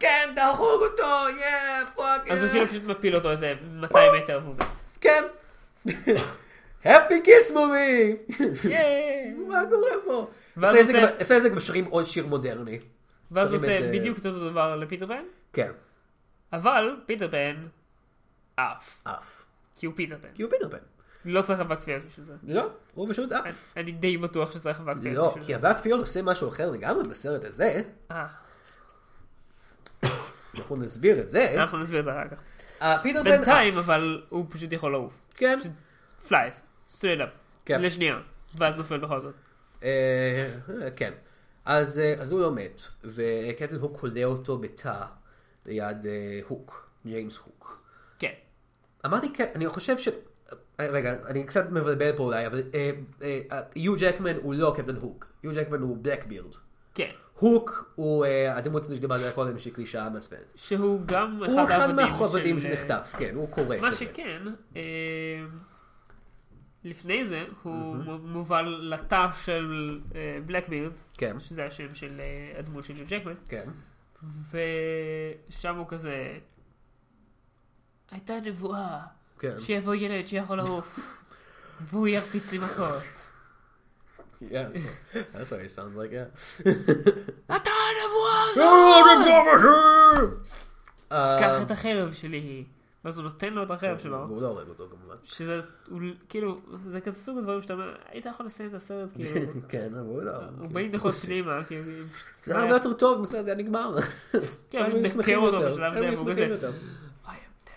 כן, תהרוג אותו, יא, פאק,
אז
אה."
הוא כאילו פשוט מפיל אותו איזה 200 מטר
[LAUGHS]
והוא מת.
כן. Happy Kids movie! [LAUGHS]
ייי!
מה קורה פה?
ואז
לפני זה
עושה-
גם- לפני זה גם משרים עוד שיר מודרני.
ואז הוא
שרים
עושה
את, אה,
בדיוק את אותו דבר לפיטר פן,
כן,
אבל פיטר פן עף.
אף.
כי הוא פיטר פן.
כי הוא פינרפן.
לא צריך אבק כפיות בשביל זה.
לא, הוא פשוט
אני-
אף.
אני די בטוח שצריך אבק כפיות
לא,
בשביל
כי
זה.
אבק פיון עושה משהו אחר לגמרי בסרט הזה,
אה,
אנחנו נסביר את זה.
אנחנו נסביר את זה אחר כך.
אה, פיטר פן
בינתיים,
אף.
אבל הוא פשוט יכול לעוף.
כן.
פלייס, סטרייט אפ.
כן.
לשנייה. ואז נופל בכל זאת.
אה, כן. אז, אה, אז הוא לא מת, וקטן הוק כולא אותו בתא ליד אה, הוק, ג'יימס הוק.
כן.
אמרתי, כן, אני חושב ש... אה, רגע, אני קצת מבלבל פה אולי, אבל אה, אה, אה, יו ג'קמן הוא לא קפטן הוק, יו ג'קמן הוא בלקבירד.
כן.
הוק הוא אה, הדמות הזו שדיברנו עליה קודם, שהיא קלישאה מעצבנת.
שהוא גם אחד
הוא אחד
העבדים
מהעבדים
של- אה,
שנחטף, כן, הוא קורא.
מה
כזה.
שכן, אה, לפני זה הוא מ- מובל לתא של בלקבירד,
כן,
שזה השם של אה, הדמות של ג'ו ג'קמן,
כן.
ושם הוא כזה... הייתה נבואה,
כן.
שיבוא ילד שיכול לעוף, והוא ירפיץ לי מכות.
Yeah, that's what he sounds like, yeah.
אתה הנבואה הזאת! קח
אה,
את החרב שלי. ואז הוא נותן לו את החרב שלו,
והוא Um, לא הורג אותו
[LAUGHS]
כמובן.
שזה הוא- כאילו, זה כזה סוג הדברים שאתה אומר, היית יכול לסיים את
[LAUGHS]
הסרט, כאילו,
כן, אבל הוא לא.
40 דקות פנימה, כאילו,
זה היה הרבה יותר טוב, בסדר, זה היה נגמר.
כן,
הם
הוא
היו שמחים
דקר אותו
יותר,
בשלב
הם
זה,
היו
והוא
שמחים
כזה,
יותר.
I am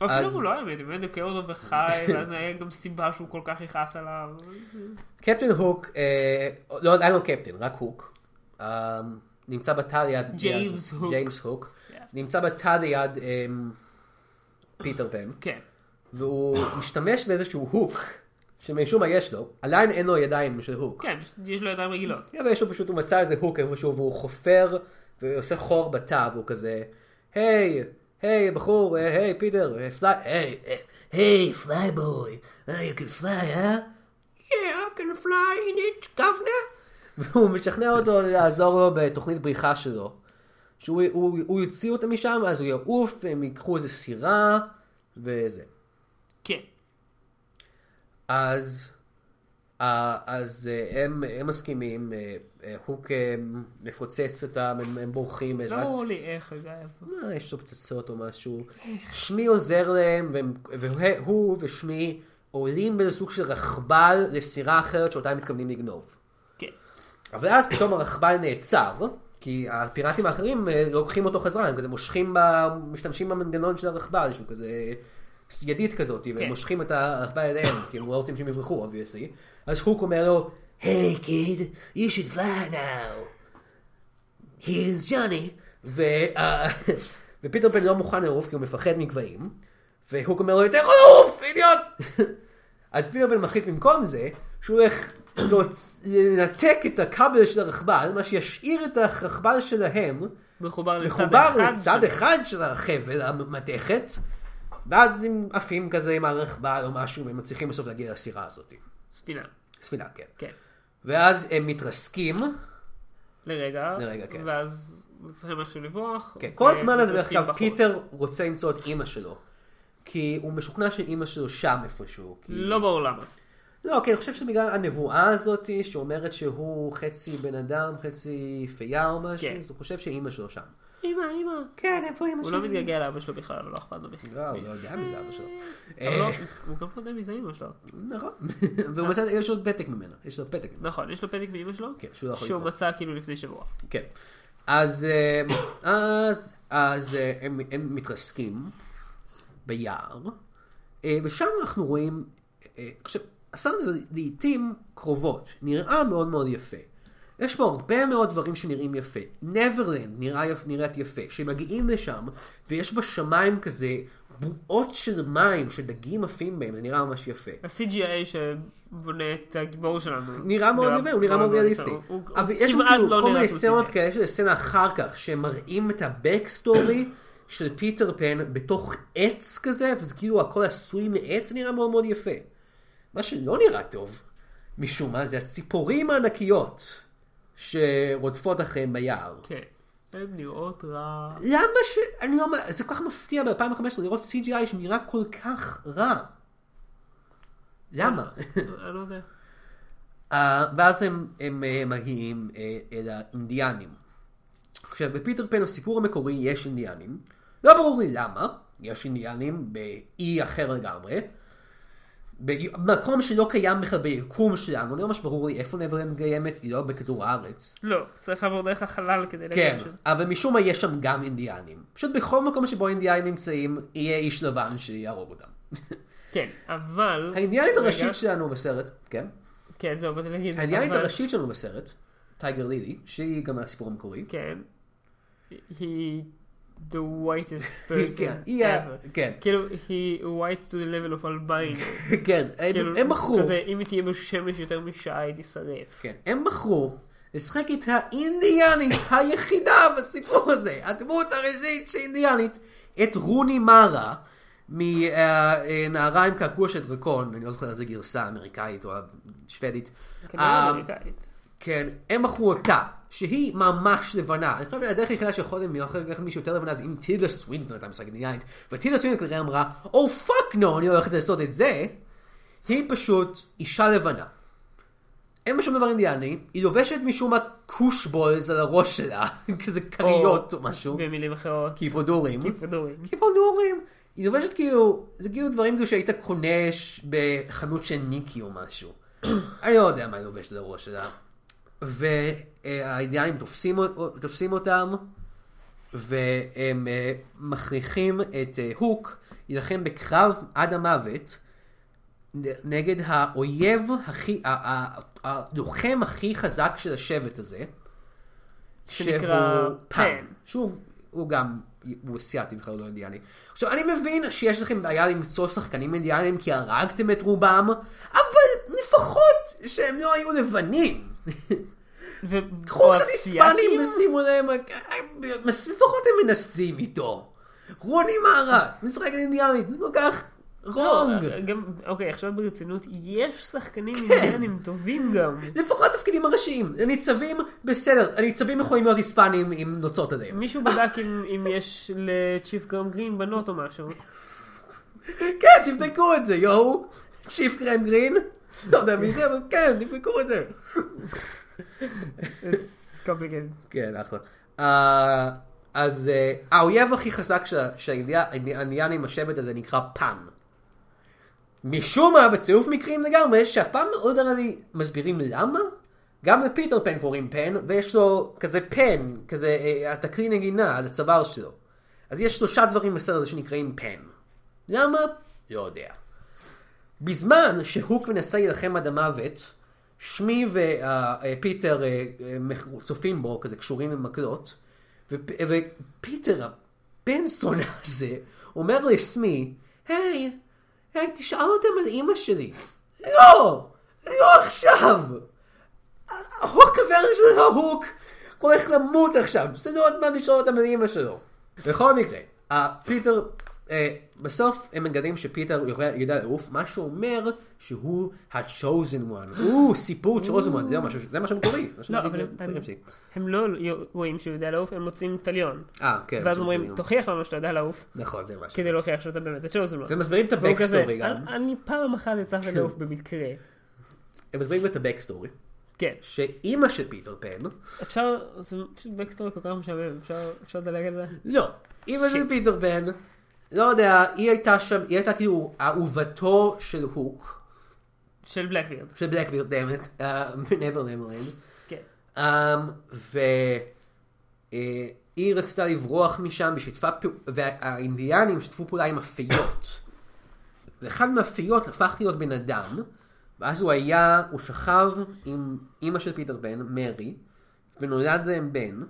dead. אפילו
אז-
הוא לא היה מת, הוא באמת דקר אותו בחי,
[LAUGHS]
ואז היה גם סיבה שהוא כל כך יכעס עליו.
קפטן הוק, אה, לא, היה לו קפטן, רק הוק. אה, נמצא בתא ליד...
ג'יימס
ליד-
הוק.
ג'יימס הוק.
Yeah.
נמצא בתא ליד אה, פיטר פן,
כן,
והוא משתמש באיזשהו הוק, שמשום מה יש לו, עדיין אין לו ידיים של הוק.
כן, יש לו ידיים רגילות.
כן, ויש לו פשוט, הוא מצא איזה הוק איפשהו, והוא חופר, ועושה חור בתא, והוא כזה, היי, היי, בחור, אה, היי, פיטר, אה, פליי, היי, אה, היי, פליי בוי, אה, you can fly, אה? Yeah, I can fly in it, governor. והוא משכנע אותו לעזור לו בתוכנית בריחה שלו. שהוא הוא, הוא יוציא אותם משם, אז הוא יעוף, הם ייקחו איזה סירה, וזה.
כן,
אז... אה, אז אה, הם הם מסכימים, אה, אה, הוק אה, מפוצץ אותם, הם- הם בורחים
לא
בעזרת...
ברור לי איך, אגב.
אה, יש לו פצצות או משהו. שמי עוזר להם, והם- והוא ושמי עולים באיזה סוג של רכבל לסירה אחרת שאותה הם מתכוונים לגנוב.
כן.
אבל אז פתאום הרכבל נעצר, כי הפיראטים האחרים אה, לוקחים אותו חזרה, הם כזה מושכים, ב... משתמשים במנגנון של הרכבל, שהוא כזה ידית כזאת, והם
כן.
מושכים את הרכבל אליהם, [COUGHS] כי הם לא רוצים שהם יברחו, obviously. אז הוק אומר לו, היי קיד, you should fly now. here's Johnny. ו... אה, [LAUGHS] ופיטר פן לא מוכן לעוף כי הוא מפחד מגבהים, והוק אומר לו, אתה יכול לעוף, אידיוט! [LAUGHS] אז פיטר פן מחליט במקום זה, שהוא הולך להוצ- לנתק את הכבל של הרכבל, מה שישאיר את הרכבל שלהם
מחובר לצד אחד.
מחובר לצד
של-
אחד של החבל, המתכת, ואז הם עפים כזה עם הרכבל או משהו, והם מצליחים בסוף להגיע לסירה הזאת.
ספינה.
ספינה, כן.
כן.
ואז הם מתרסקים.
לרגע.
לרגע, כן.
ואז צריכים איכשהו לברוח.
כן, כל הזמן
ו-
הזה, דרך אגב,
אוקיי, בחוץ.
פיטר רוצה למצוא את אימא שלו. כי הוא משוכנע שאימא שלו שם איפשהו. כי...
לא ברור למה.
לא, כי אני חושב שזה בגלל הנבואה הזאת, שאומרת שהוא חצי בן אדם, חצי פייה או משהו,
כן.
אז הוא חושב שאימא שלו שם.
אמא, אמא.
כן, איפה אימא
הוא
שלי?
לא מתגעגע לאבא שלו בכלל, אבל לא אכפת לו בכלל.
לא, הוא לא יודע מזה אבא שלו.
אבל לא,
אה,
הוא- הוא גם לא יודע מי זה אמא שלו.
[LAUGHS] נכון. והוא מצא, יש לו פתק ממנו. יש לו פתק.
נכון, יש לו פתק מאמא שלו?
כן, שהוא לא יכול
שהוא
לקרוא.
מצא כאילו לפני שבוע.
כן. אז, אה, אז, אז אה, הם, הם מתרסקים ביער, אה, ושם אנחנו רואים, אה, עכשיו, הסרט הזה לעיתים קרובות, נראה מאוד מאוד יפה. יש בו הרבה מאוד דברים שנראים יפה. נברלנד נראה יפ, נראית יפה. כשמגיעים לשם, ויש בשמיים כזה בועות של מים, שדגים עפים בהם, זה נראה ממש יפה.
ה-CGI שבונה את הגיבור שלנו.
נראה מאוד יפה, הוא נראה מאוד ריאליסטי.
הוא- הוא- הוא
אבל יש לנו
כמעט
כאילו
לא
כל
נראה
מיני
כמו
סצנות
CGI.
כאלה, יש איזה סצנה אחר כך, שמראים את הבקסטורי של פיטר פן בתוך עץ כזה, וזה כאילו הכל עשוי מעץ, זה נראה מאוד מאוד יפה. מה שלא נראה טוב, משום מה, זה הציפורים הענקיות שרודפות אחריהם ביער.
כן. הן נראות רע.
למה ש... אני לא... מ- זה כל כך מפתיע ב-2015 לראות CGI שנראה כל כך רע. למה?
[LAUGHS] אני לא יודע.
אה, ואז הם, הם אה, מגיעים אה, אל האינדיאנים. עכשיו, בפיטר פן הסיפור המקורי יש אינדיאנים. לא ברור לי למה, יש אינדיאנים באי אחר לגמרי. במקום שלא קיים בכלל ביקום שלנו, לא ממש ברור לי איפה נברלנד קיימת, היא לא בכדור הארץ.
לא, צריך לעבור דרך החלל כדי
כן,
להגיד ש...
אבל משום מה יש שם גם אינדיאנים. פשוט בכל מקום שבו אינדיאנים נמצאים, יהיה איש לבן שיהרוג אותם.
כן, אבל...
האינדיאנית
רגע,
הראשית שלנו בסרט, כן?
כן, זהו, באתי להגיד.
האינדיאנית
אבל-
הראשית שלנו בסרט, טייגר לילי, שהיא גם הסיפור המקורי.
כן. He the whitest
[LAUGHS] כן,
person
היא ה-
ever.
כן.
כאילו, he white to the level of albino.
כן, הם-
כאילו,
הם מכרו,
כזה, אם היא תהיה בשמש יותר משעה, היא תישרף.
כן, הם מכרו לשחק את האינדיאנית היחידה בסיפור הזה, הדמות הראשית שאינדיאנית, את רוני מארה, מנערה עם קעקוע של דרקון, אני לא זוכר איזה גרסה אמריקאית או שוודית. אה, Um,
כנראה אמריקאית.
כן, הם מכרו אותה, שהיא ממש לבנה. אני חושב שהדרך היחידה שיכולים להיות לקחת מישהו יותר לבנה זה אם טילדה סווינטון הייתה מסגנית, וטילדה סווינטון כנראה אמרה, או פאק נו, אני הולכת לעשות את זה. היא פשוט אישה לבנה. אין בה שום דבר אינדיאני, היא לובשת משום מה קושבולז על הראש שלה, [LAUGHS] כזה כריות או משהו,
במילים אחרות.
קיפודורים.
כדורים.
קיפודורים. היא לובשת כאילו, זה כאילו דברים כאילו שהיית קונה ש- בחנות של ניקי או משהו. [CLEARS THROAT] אני לא יודע מה היא לובשת על הראש שלה. והאידיאנים תופסים, אות- תופסים אותם, והם אה, מכריחים את אה, הוק להילחם בקרב עד המוות נ- נגד האויב הכי, ה- ה- ה- הלוחם הכי חזק של השבט הזה.
שנקרא
שהוא
פן.
שהוא הוא גם, הוא אסיאתי בכלל לא אינדיאני. עכשיו, אני מבין שיש לכם בעיה למצוא שחקנים אינדיאנים כי הרגתם את רובם, אבל לפחות שהם לא היו
[LAUGHS]
לבנים.
ו-
קחו
או
קצת היספנים
אסיאתיים?
ושימו להם, לפחות הם מנסים איתו. רוני מארה, משחק אינדיאנית, זה כל כך
לא,
רונג.
גם, אוקיי, עכשיו ברצינות, יש שחקנים
כן.
אינדיאנים טובים גם.
לפחות התפקידים הראשיים, הניצבים, בסדר, הניצבים יכולים להיות היספנים עם נוצות עליהם.
מישהו בדק אם אם יש לצ'יפ גרם גרין בנות או משהו.
כן, תבדקו את זה, יואו. צ'יפ קרם גרין, לא יודע מי זה, אבל כן, תבדקו את זה.
It's complicated.
כן, אחלה. אה, אז אה, האויב הכי חזק של- של האינדיאנים, השבט הזה, נקרא פן. משום מה, בצירוף מקרים לגמרי, שאף פעם לא יודע לי מסבירים למה. גם לפיטר פן קוראים פן, ויש לו כזה פן, כזה אה, התקרין נגינה על הצוואר שלו. אז יש שלושה דברים בסרט הזה שנקראים פן. למה? לא יודע. בזמן שהוק מנסה להילחם עד המוות, שמי אה, ופיטר אה, צופים בו, כזה קשורים למקלות, ופ- אה, ופיטר, הבן זונה הזה, אומר לסמי, היי, היי, תשאל אותם על אימא שלי. לא! לא עכשיו! ההוק הוורז'ן ההוק הולך למות עכשיו, זה לא הזמן לשאול אותם על אימא שלו. בכל מקרה, אה, פיטר, אה, בסוף הם מגלים שפיטר יודע- יודע לעוף, מה שאומר שהוא ה-chosen one. הוא סיפור chosen one, זה לא משהו- זה מה שמקורי. מה
לא,
שמקורי
אבל
זה-
הם-
זה
הם-
גם שלי.
הם לא רואים שהוא יודע לעוף, הם מוצאים תליון.
אה, כן.
ואז
זה
אומרים,
מקורי.
תוכיח לנו שאתה יודע לעוף,
נכון, זה משהו.
כדי להוכיח שאתה באמת הצ'וזן.
והם מסבירים את
והוא כזה, אה?
ה-Backstory גם.
"אני- אני פעם אחת
[LAUGHS]
הצלחתי לעוף במקרה.
הם מסבירים את ה-Backstory,
כן.
שאימא של פיטר פן,
אפשר, זה פשוט בקסטורי כל כך משעמם, אפשר- אפשר לדלג על זה?
לא, אימא של פיטר פן, לא יודע, היא הייתה שם, היא הייתה כאילו אהובתו של הוק,
של בלקבירד.
של בלקבירד, דאמת, [LAUGHS] מעבר למרלין,
כן.
Um, והיא uh, רצתה לברוח משם, ושיתפה פעו- והאינדיאנים שיתפו פעולה עם אפיות. ואחד מהאפיות הפך להיות בן אדם, ואז הוא היה, הוא שכב עם אימא של פיטר פן, מרי, ונולד להם בן,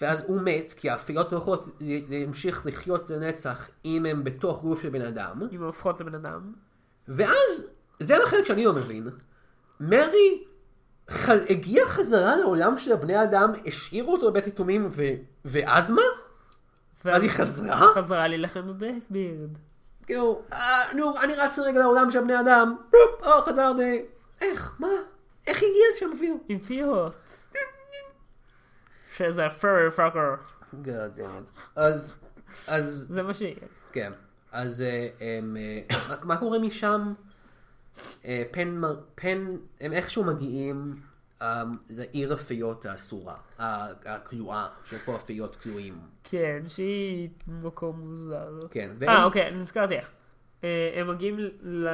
ואז הוא מת, כי האפיות לא יכולות ל- להמשיך לחיות לנצח אם הם בתוך גוף של בן אדם.
אם הופכות לבן אדם.
ואז, זה החלק שאני לא מבין. מרי ח... הגיע חזרה לעולם של הבני אדם, השאירו אותו בבית יתומים, ו... ואז מה? ואז היא חזרה?
חזרה להילחם בבלקבירד.
כאילו, "אה, נו, אני רץ רגע לעולם של בני אדם, פופ, או, חזרתי. איך? מה? איך הגיע לשם אפילו?
עם פיות. שזה פרי פאקר.
God damn. אז, אז,
זה מה שיהיה.
כן. אז אה, הם, אה, מה- מה קורה משם? אה, פן, מר- פן, הם איכשהו מגיעים אה, לעיר הפיות האסורה, ה- הכלואה, שפה הפיות כלואים.
כן, שהיא מקום מוזר.
כן.
אה,
והם-
אוקיי, אני נזכרתי איך. אה, הם מגיעים ל...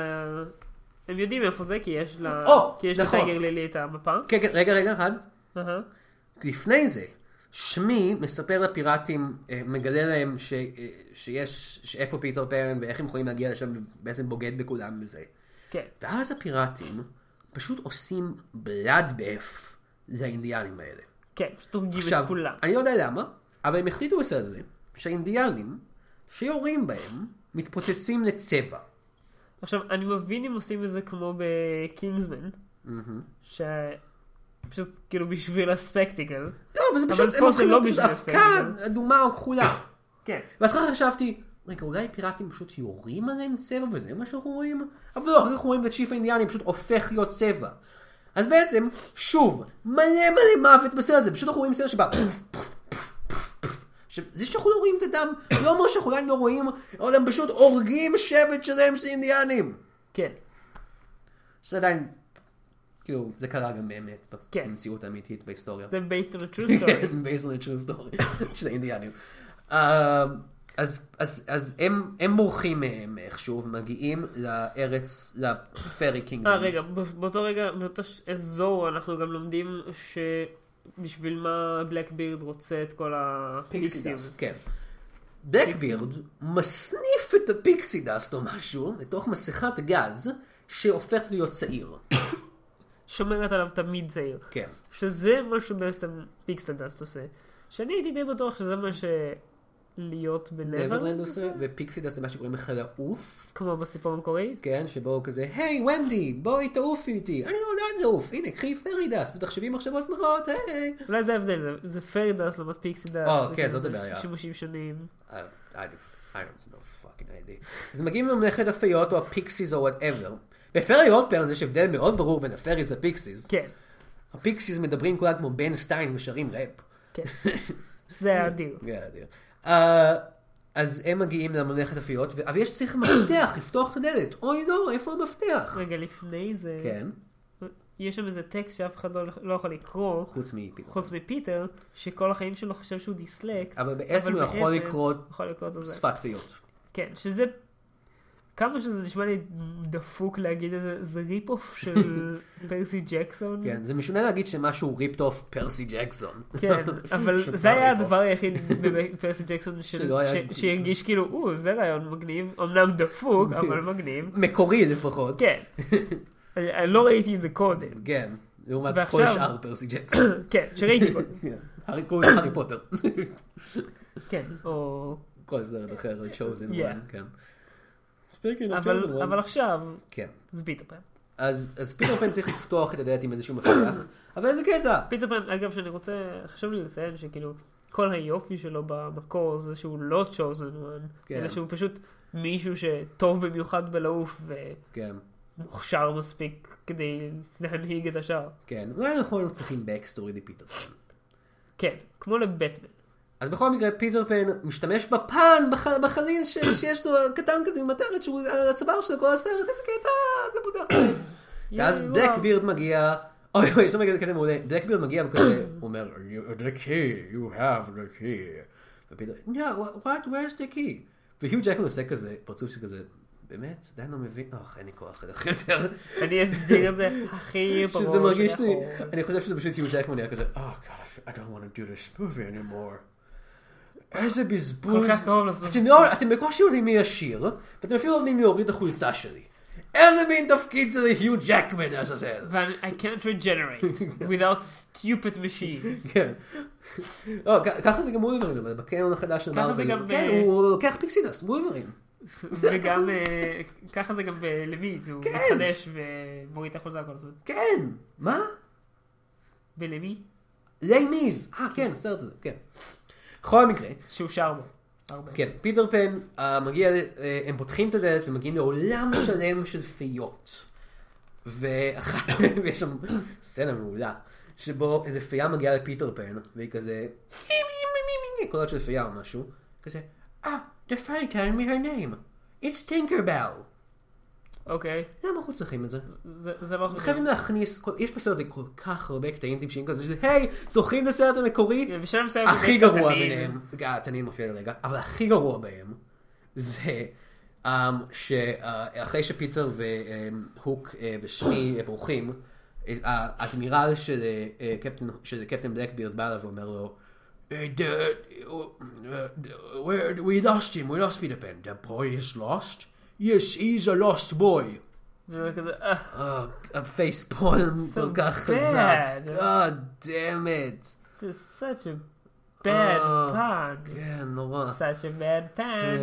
הם יודעים איפה זה, כי יש לה...
או,
כי יש
נכון.
לטייגר לילי את המפה.
כן, כן, רגע, רגע אחד.
אהה.
לפני זה, שמי מספר לפיראטים, אה, מגלה להם ש, אה, שיש, שאיפה פיטר פרן ואיך הם יכולים להגיע לשם, בעצם בוגד בכולם וזה.
כן.
ואז הפיראטים פשוט עושים בלאדבף לאינדיאנים האלה.
כן, פשוט הורגים
עכשיו,
את כולם.
אני לא יודע למה, אבל הם החליטו בסרט הזה שהאינדיאנים שיורים בהם מתפוצצים לצבע.
עכשיו, אני מבין אם עושים את זה כמו בקינגסמן, שפשוט כאילו בשביל הספקטיקל.
לא, אבל זה
אבל
פשוט,
פה
הם
זה
הופכים
לא
להיות פשוט
בשביל
אבקה
הספקטקל.
אדומה או כחולה.
כן.
בהתחלה חשבתי, רגע, אולי פיראטים פשוט יורים עליהם צבע וזה מה שאנחנו רואים? אבל לא, אנחנו רואים את שיף האינדיאני פשוט הופך להיות צבע. אז בעצם, שוב, מלא מלא מוות בסרט הזה, פשוט אנחנו רואים סרט שבא פוף, פוף, פוף, פוף, פוף. עכשיו, זה שאנחנו לא רואים את הדם, לא אומר שאנחנו עדיין לא רואים, אבל הם פשוט הורגים שבט שלהם של אינדיאנים.
כן.
שזה עדיין, כאילו, זה קרה גם באמת,
כן.
במציאות האמיתית בהיסטוריה. [LAUGHS]
זה based on a true story.
כן, based on a true story של האינדיאנים. אמ, אז, אז, אז הם, הם בורחים מהם איכשהו ומגיעים לארץ, לפרי קינגדום.
אה, רגע, ב- באותו רגע, באותו ש- אזור אנחנו גם לומדים שבשביל מה בלקבירד רוצה את כל הפיקסים.
כן. בלקבירד מסניף את הפיקסי דאסט או משהו לתוך מסכת גז שהופך להיות צעיר.
שומרת עליו תמיד צעיר.
כן.
שזה מה שבעצם פיקסטנדסט עושה. שאני הייתי די בטוח שזה מה שלהיות
נברלנד
בנברלנד
עושה, ופיקסי דאסט זה מה שקוראים לך לעוף.
כמו בסיפור המקורי.
כן, שבו הוא כזה, היי, ונדי, בואי תעופי איתי. אני לא יודעת לעוף, הנה, קחי פרי דאסט, ותחשבי מחשבות שמחות, היי.
אולי זה ההבדל, זה- זה פרדס לעומת פיקסידס.
אה,
זה
כן,
כאילו
זאת הבעיה.
שימושים שונים.
I, I, I don't know fucking idea. אז מגיעים לממלכת הפיות או הפיקסיס או וואטאבר. בפרי עוד פעם יש הבדל מאוד ברור בין הפריז לפיקסיס.
כן,
הפיקסיס מדברים כולם כמו בן סטיין ושרים ראפ. [LAUGHS]
כן. זה אדיר.
Yeah, dear. אה, אז הם מגיעים לממלכת הפיות, ו- אבל יש צריך מפתח לפתוח את הדלת. אוי לא, איפה המפתח?
רגע, לפני זה,
כן,
יש שם איזה טקסט שאף אחד לא, לא יכול לקרוא,
חוץ מפיתר.
חוץ מפיטר, שכל החיים שלו חושב שהוא דיסלקט.
אבל בעצם הוא יכול
בעצם
לקרוא
הוא יכול לקרוא את זה.
שפת פיות.
כן, שזה... כמה שזה נשמע לי דפוק להגיד את זה, זה ריפ אוף
[LAUGHS]
של פרסי ג'קסון.
כן, זה משונה להגיד שמשהו ריפט אוף פרסי ג'קסון.
כן, אבל זה היה הדבר היחיד בפרסי
[LAUGHS]
ג'קסון של-
שלא היה-
ש- שהרגיש כאילו, או, זה רעיון מגניב, אמנם דפוק, אבל מגניב.
[LAUGHS] מקורי לפחות.
כן. אני- אני לא ראיתי את זה קודם.
כן, לעומת
ועכשיו-
כל שאר פרסי ג'קסון.
כן, שראיתי קודם.
[COUGHS] כן. הארי קוראים לו הארי פוטר.
כן, או...
[COUGHS] כל סרט אחר, chosen
Yeah.
one, כן. Speaking of chosen
אבל
ones.
אבל עכשיו,
כן.
זה פיטר פן.
אז אז פיטר פן צריך לפתוח את הדלת עם איזשהו מפתח, [COUGHS] אבל איזה קטע.
פיטר פן, אגב, שאני רוצה, חשוב לי לציין שכאילו, כל היופי שלו במקור זה שהוא לא chosen one,
כן.
אלא שהוא פשוט מישהו שטוב במיוחד בלעוף
כן,
ומוכשר מספיק כדי להנהיג את השאר.
כן. אולי אנחנו היינו צריכים backstory לפיטר פן.
כן, כמו לבטמן.
אז בכל מקרה, פיטר פן משתמש בפן, בח- בחליז ש- שיש לו קטן כזה עם מטרת שהוא על הצוואר שלו כל הסרט, איזה קטע, זה פותח. דלת. ואז
יואו.
בלקבירד מגיע, אוי אוי, יש לו מגיע קטע מעולה, בלקבירד מגיע וכזה, הוא אומר, "You- the key, you have the key. ופיטר, no, wha- what, where's the key? והיו ג'קמן עושה כזה, פרצוף שכזה, באמת? עדיין לא מבין, אוח, אין לי כוח לדבר
[LAUGHS]
יותר.
אני אסביר את זה הכי
[LAUGHS]
ברור
שזה מרגיש לי,
שיכול.
אני חושב שזה פשוט היו ג'קמן היה כזה, oh god, I don't want to do this movie anymore. איזה בזבוז.
כל כך קרוב לעשות.
אתם לא- אתם בקושי עולים לי לשיר, ואתם אפילו לא עומדים לי להוריד את החולצה שלי. איזה מין תפקיד זה היו ג'קמן, לעזאזל.
ואני- I can't regenerate without stupid machines.
כן. לא, כ- ככה זה גם וולברין, אבל בקניון החדש של
ככה זה
מארוול.
גם
כן,
אה, ב-
הוא לוקח פיקסידס, וולברין.
וגם, אה, ככה זה גם בלמיץ, הוא מתחדש ומוריד את החולצה כל הזמן.
כן, מה?
בלמי?
ליי מיז. אה, כן, הסרט הזה, כן. בכל מקרה,
שהוא שר בו. הרבה.
כן, פיטר פן אה, מגיע, אה, הם פותחים את הדלת ומגיעים לעולם [CLEARS THROAT] שלם של פיות. [CLEARS THROAT] ואח- ויש שם סצנה מעולה, שבו איזה פייה מגיעה לפיטר פן, והיא כזה, קולות של פייה או משהו, כזה, אה, the fairy told me her name, it's tinkerbell.
אוקיי.
למה אנחנו צריכים את זה?
זה זה לא
חייבים להכניס, כל- יש בסרט הזה כל כך הרבה קטעים טיפשיים כזה של היי, זוכרים את הסרט המקורי?
בשלב מסוים כן, זה
הכי
קטנים.
גרוע ביניהם, אה, התנין מופיע לרגע, אבל הכי גרוע בהם זה אמ, שאחרי שפיטר והוק ושמי אה, בורחים, אה, האדמירל של אה, אה, קפטן- של קפטן בלקבירד בא אליו ואומר לו "אה, the- אה, the- where- We lost him, we lost Peter Pan. The boy is lost? Yes, he's a lost boy.
וזה כזה, "אה,
אה, הפייספולם כל כך
bad.
חזק. אה, דאמת.
זה such a bad
אה,
pun.
כן, נורא.
such a bad pun.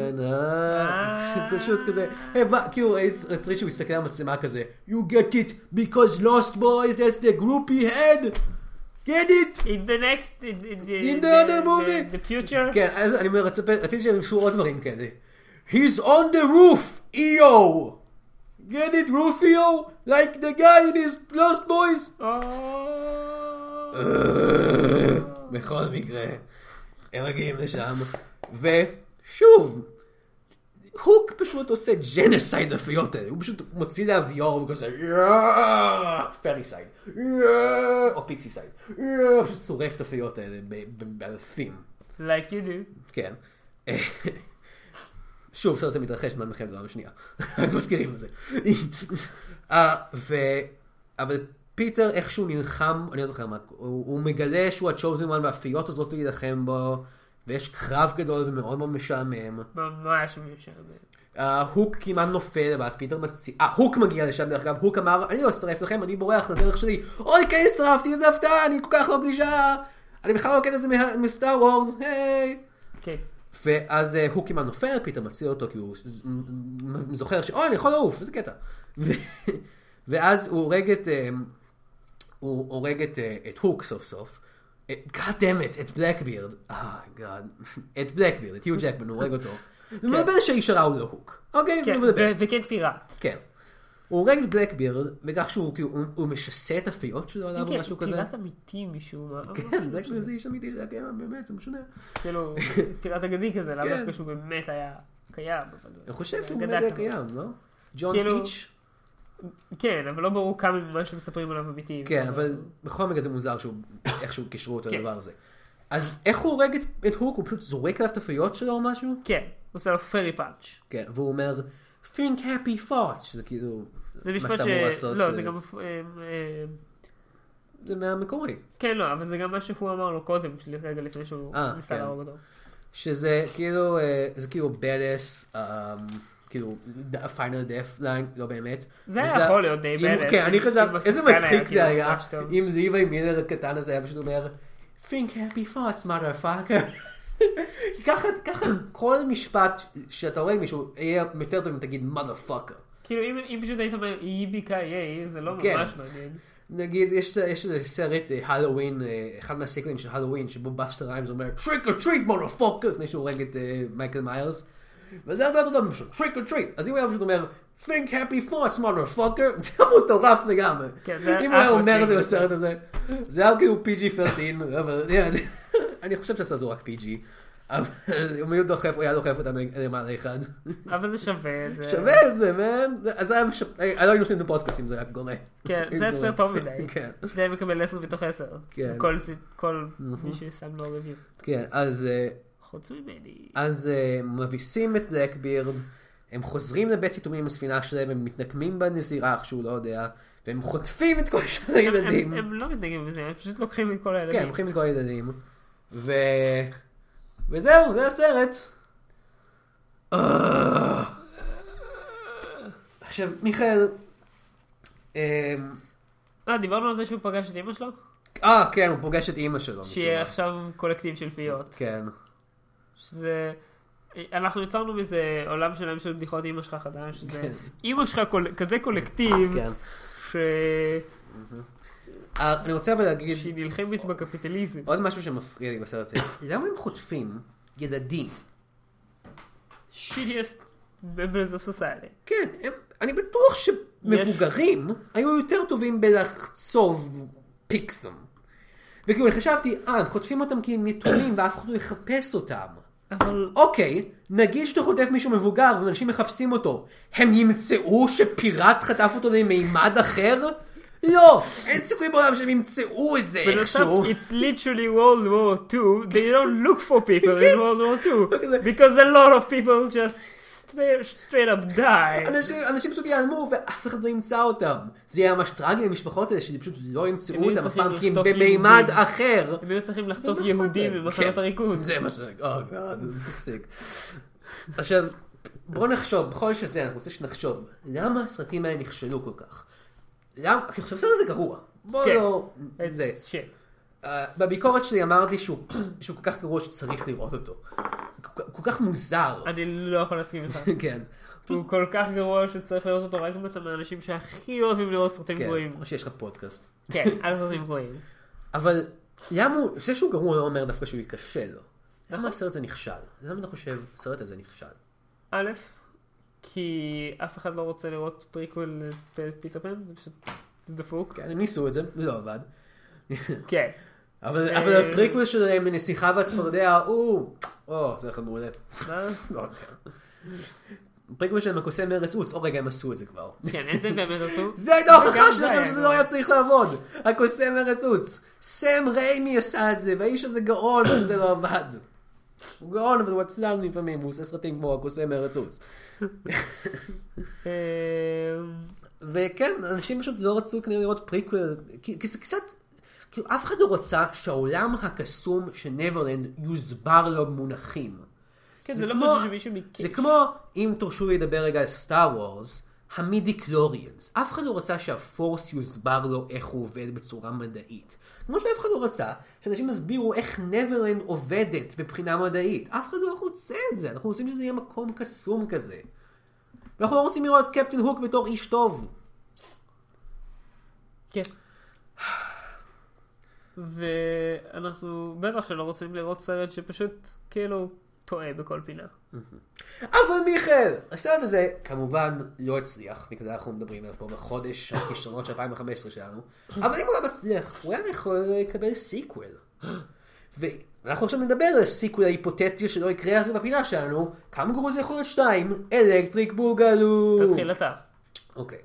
כן, אה, [LAUGHS] פשוט כזה, הבא- כאילו רציתי שהוא מסתכל על המצלמה כזה, You get it because lost boys, that's the groupie head, get it.
In the next, in in the
In the
the-
other movie.
the- the future.
כן, אז אני מצפה, רציתי שהם ימשו עוד דברים כאלה. He's on the roof, EO. get it, roof EO, like the guy in his lost boys.
Oh.
בכל מקרה, הם מגיעים לשם, ושוב, הוק פשוט עושה ג'נסייד לפיות האלה, הוא פשוט מוציא לאוויור וכזה פריסייד, או פיקסיסייד, יאה, פשוט שורף את הפיות האלה ב- ב- באלפים,
Like you do.
כן. שוב, סרט זה מתרחש מעל מלחמת העולם השנייה, רק מזכירים את זה. אה, ו... אבל פיטר איכשהו נלחם, אני לא זוכר מה, הוא, הוא מגלה שהוא הצ'וזן וואן והפיות עוזרות לו להילחם בו, ויש קרב גדול ומאוד מאוד משעמם.
ממש מיושר. זה.
אה, הוק כמעט נופל, ואז פיטר מציע... אה, הוק מגיע לשם דרך אגב, הוק אמר, אני לא אצטרף לכם, אני בורח לדרך שלי. אוי, כן, שרפתי, איזה הפתעה, אני כל כך לא גלישה. אני בכלל לא קטע את זה מה- מסטאר וורס, היי.
כן.
ואז אה, הוא כמעט נופל, פיטר מציל אותו כי הוא ז- מ- זוכר שאוי, אני יכול לעוף, איזה קטע. ו- ואז הוא הורג את, אה, הוא הורג את, אה, את הוק סוף סוף. אה, God damn it, את בלקבירד. אה, God. את בלקבירד, את יו ג'קמן, הוא הורג אותו. זה מבלבל שהאיש הרע הוא לא הוק. אוקיי? זה
כן,
מבלבל.
ו- וכן פיראט.
כן. הוא הורג את בלקבירד, בכך שהוא כאילו, הוא- הוא משסה את הפיות שלו עליו או כן,
כן,
משהו כזה.
פילת אמיתי משום מה. אבל לא
כן,
משנה.
בלקבירד זה איש אמיתי שהיה קיים, באמת, זה משונה.
כאילו, פילת אגדי כזה, לאו
כן.
דווקא שהוא באמת היה קיים. אבל זה-
אני חושב
זה
שהוא
אגדה
באמת היה
כזאת.
קיים, לא? ג'ון
כן, כאילו-
טיץ'?
כן, אבל לא ברור כמה ממה שמספרים עליו אמיתי.
כן, אבל בכל מקרה זה מוזר שהוא, איכשהו קישרו אותו
כן.
לדבר הזה. אז איך הוא הורג את- את הוק? הוא פשוט זורק עליו את הפיות שלו או משהו?
כן, עושה לו פרי פאנץ'.
כן, והוא אומר, think happy thoughts, שזה כאילו,
זה
מה
משפט
שאתה
ש...
אמור לעשות,
לא,
אה,
זה גם... אה, אה,
זה מהמקורי.
כן, לא, אבל זה גם מה שהוא אמר לו קודם, רגע לפני שהוא
אה,
ניסה
כן.
להרוג אותו.
שזה כאילו, אה, זה כאילו בדס, כאילו, פיינל דף ליין, לא באמת.
זה היה
וזה-
יכול להיות די
אם-
badass,
כן, אני
אם-
חושב,
אם
איזה
השחקן היה
מצחיק
כאילו
זה היה,
ממש טוב.
אם זיווי מילר הקטן הזה היה פשוט אומר, think happy thoughts, mother fucker. [LAUGHS] ככה, ככה כל משפט שאתה רואה עם מישהו, יהיה יותר טוב אם תגיד mother fucker.
כאילו, אם- אם פשוט היית אומר איביקה יאי, זה לא
כן.
ממש מעניין.
נגיד, יש יש איזה סרט אה, הלואוין, אה, אחד מהסיקלים של הלואוין, שבו בסטר ריימס אומר, טריק או טריט מונופוקר, לפני שהוא הורג את אה, מייקל מיירס. וזה הרבה יותר טוב פשוט, טריק או טריט. אז אם הוא היה פשוט אומר, think happy thoughts מונופוקר, [LAUGHS] זה היה מטורף לגמרי.
כן, זה
אם הוא היה
אחלה
אומר את זה
סרט.
בסרט הזה, זה היה כאילו PG-13, אבל [LAUGHS] yeah, אני חושב שעשו רק PG. אבל [LAUGHS] אם היו דוחף, הוא היה דוחף אותנו למעלה אחד.
אבל זה שווה את זה.
שווה את זה, מן. אז זה היה מש... אה, לא היינו עושים את הפודקאסט אם זה היה קורה.
כן, זה סרט טוב מדי.
כן.
זה היה מקבל 10 מתוך 10.
כן. נכון.
כל זה- כל מי ששם לו ריוויו.
כן, אז, אה,
חוץ ממני.
אז אה, מביסים את בלקבירד, הם חוזרים לבית יתומים עם הספינה שלהם, הם מתנקמים בנזירה, איך שהוא לא יודע, והם חוטפים את כל [LAUGHS] שאר
הם-
הילדים.
הם הם לא מתנגדים בזה, הם פשוט לוקחים את כל
כן, הם
הילדים.
לוקחים את כל הילדים. ו... וזהו, זה הסרט. אה. עכשיו, מיכאל... אמ,
אה, דיברנו על זה שהוא פגש את אמא שלו?
אה, כן, הוא פוגש את אימא שלו. משום
שיהיה
מה.
עכשיו קולקטיב של פיות.
כן.
שזה... אנחנו יצרנו מזה עולם שלם של בדיחות אימא שלך חדש. שזה
כן.
אימא שלך קול- כזה קולקטיב,
כן.
ש...
אה, אני רוצה אבל להגיד...
שהיא נלחמת בקפיטליזם.
עוד משהו שמפריע לי בסרט הזה, [COUGHS] למה הם חוטפים ילדים?
שיליאסט members of society.
כן, הם, אני בטוח שמבוגרים היו יותר טובים בלחצוב פיקסום. וכאילו, אני חשבתי, אה, הם חוטפים אותם כי הם יתומים ואף אחד לא יחפש אותם.
אבל...
אוקיי, נגיד שאתה חוטף מישהו מבוגר ואנשים מחפשים אותו, הם ימצאו שפיראט חטף אותו למימד אחר? לא, אין סיכוי בעולם שהם ימצאו את זה
בנוסף,
איכשהו.
it's literally World War II, they don't look for people in World War
כזה.
II, because a lot of people just sta- straight up die.
אנשים- אנשים פשוט ייעלמו ואף אחד לא ימצא אותם. זה יהיה ממש טרגי למשפחות האלה שפשוט לא
הם
ימצאו
היו
אותם אף פעם
צריכים
כי הם
לחטוף
במימד
יהודים.
אחר.
הם היו צריכים
לא
לחטוף
אכפת
יהודים
להם.
ממחנות
כן,
הריכוז.
זה מה ש... אה, גאד, תפסיק. עכשיו, בואו נחשוב, בכל שזה, אני רוצה שנחשוב, למה הסרטים האלה נכשלו כל כך? למה? כי עכשיו סרט זה גרוע. בואו
כן.
לא...
It's
זה.
shit.
אה, בביקורת שלי אמרתי שהוא שהוא כל כך גרוע שצריך לראות אותו. כל- כל כך מוזר.
אני לא יכול
[LAUGHS]
להסכים איתך.
כן.
הוא כל כך גרוע שצריך לראות אותו רק אם אתה מהאנשים שהכי אוהבים לראות סרטים
כן,
גרועים.
או שיש לך פודקאסט.
כן, על סרטים גרועים.
אבל למה הוא, זה שהוא גרוע לא אומר דווקא שהוא ייכשל. למה הסרט הזה נכשל? למה אתה חושב הסרט הזה נכשל?
א', כי אף אחד לא רוצה לראות פריקוול לפיטר פן, זה פשוט זה דפוק.
כן, הם ניסו את זה, זה לא עבד.
כן.
אבל,
אה,
אבל הפריקוול שלהם לנסיכה והצפרדע, הוא... או, זה אחד מעולה.
מה?
לא יודע. הפריקוול שלהם הקוסם מארץ עוץ, או רגע, הם עשו את זה כבר.
כן, את זה באמת עשו.
זה הייתה
גם
ההוכחה
זה
שלכם
היה
שזה
גרוע.
לא היה צריך לעבוד. הקוסם מארץ עוץ. סם ריימי עשה את זה, והאיש הזה גאון, [COUGHS] אבל זה לא עבד. הוא גאון, אבל הוא עצלן לפעמים, הוא עושה סרטים כמו הקוסם מארץ עוץ.
אמ,
וכן, אנשים פשוט לא רצו כנראה לראות פריקוול, כי, כי זה קצת, כאילו אף אחד לא רוצה שהעולם הקסום של נברלנד יוסבר לו במונחים.
כן, זה לא
כמו-
משהו שמישהו מכיר.
זה כמו, אם תרשו לי לדבר רגע על סטאר וורס, המידי קלוריאנס. אף אחד לא רצה שהפורס יוסבר לו איך הוא עובד בצורה מדעית. כמו שאף אחד לא רצה שאנשים יסבירו איך נברלנד עובדת מבחינה מדעית. אף אחד לא רוצה את זה, אנחנו רוצים שזה יהיה מקום קסום כזה. ואנחנו לא רוצים לראות את קפטן הוק בתור איש טוב.
כן. ואנחנו בטח שלא רוצים לראות סרט שפשוט, כאילו, טועה בכל פינה.
אבל מיכאל, הסרט הזה כמובן לא הצליח, בגלל זה אנחנו מדברים עליו פה בחודש הכישרונות של 2015 שלנו, אבל אם הוא היה מצליח, הוא היה יכול לקבל סיקוול. ואנחנו עכשיו נדבר על הסיקוול ההיפותטי שלא יקרה אז בפינה שלנו, כמה גרוע זה יכול להיות שתיים, אלקטריק בוגלו.
תתחיל אתה.
אוקיי.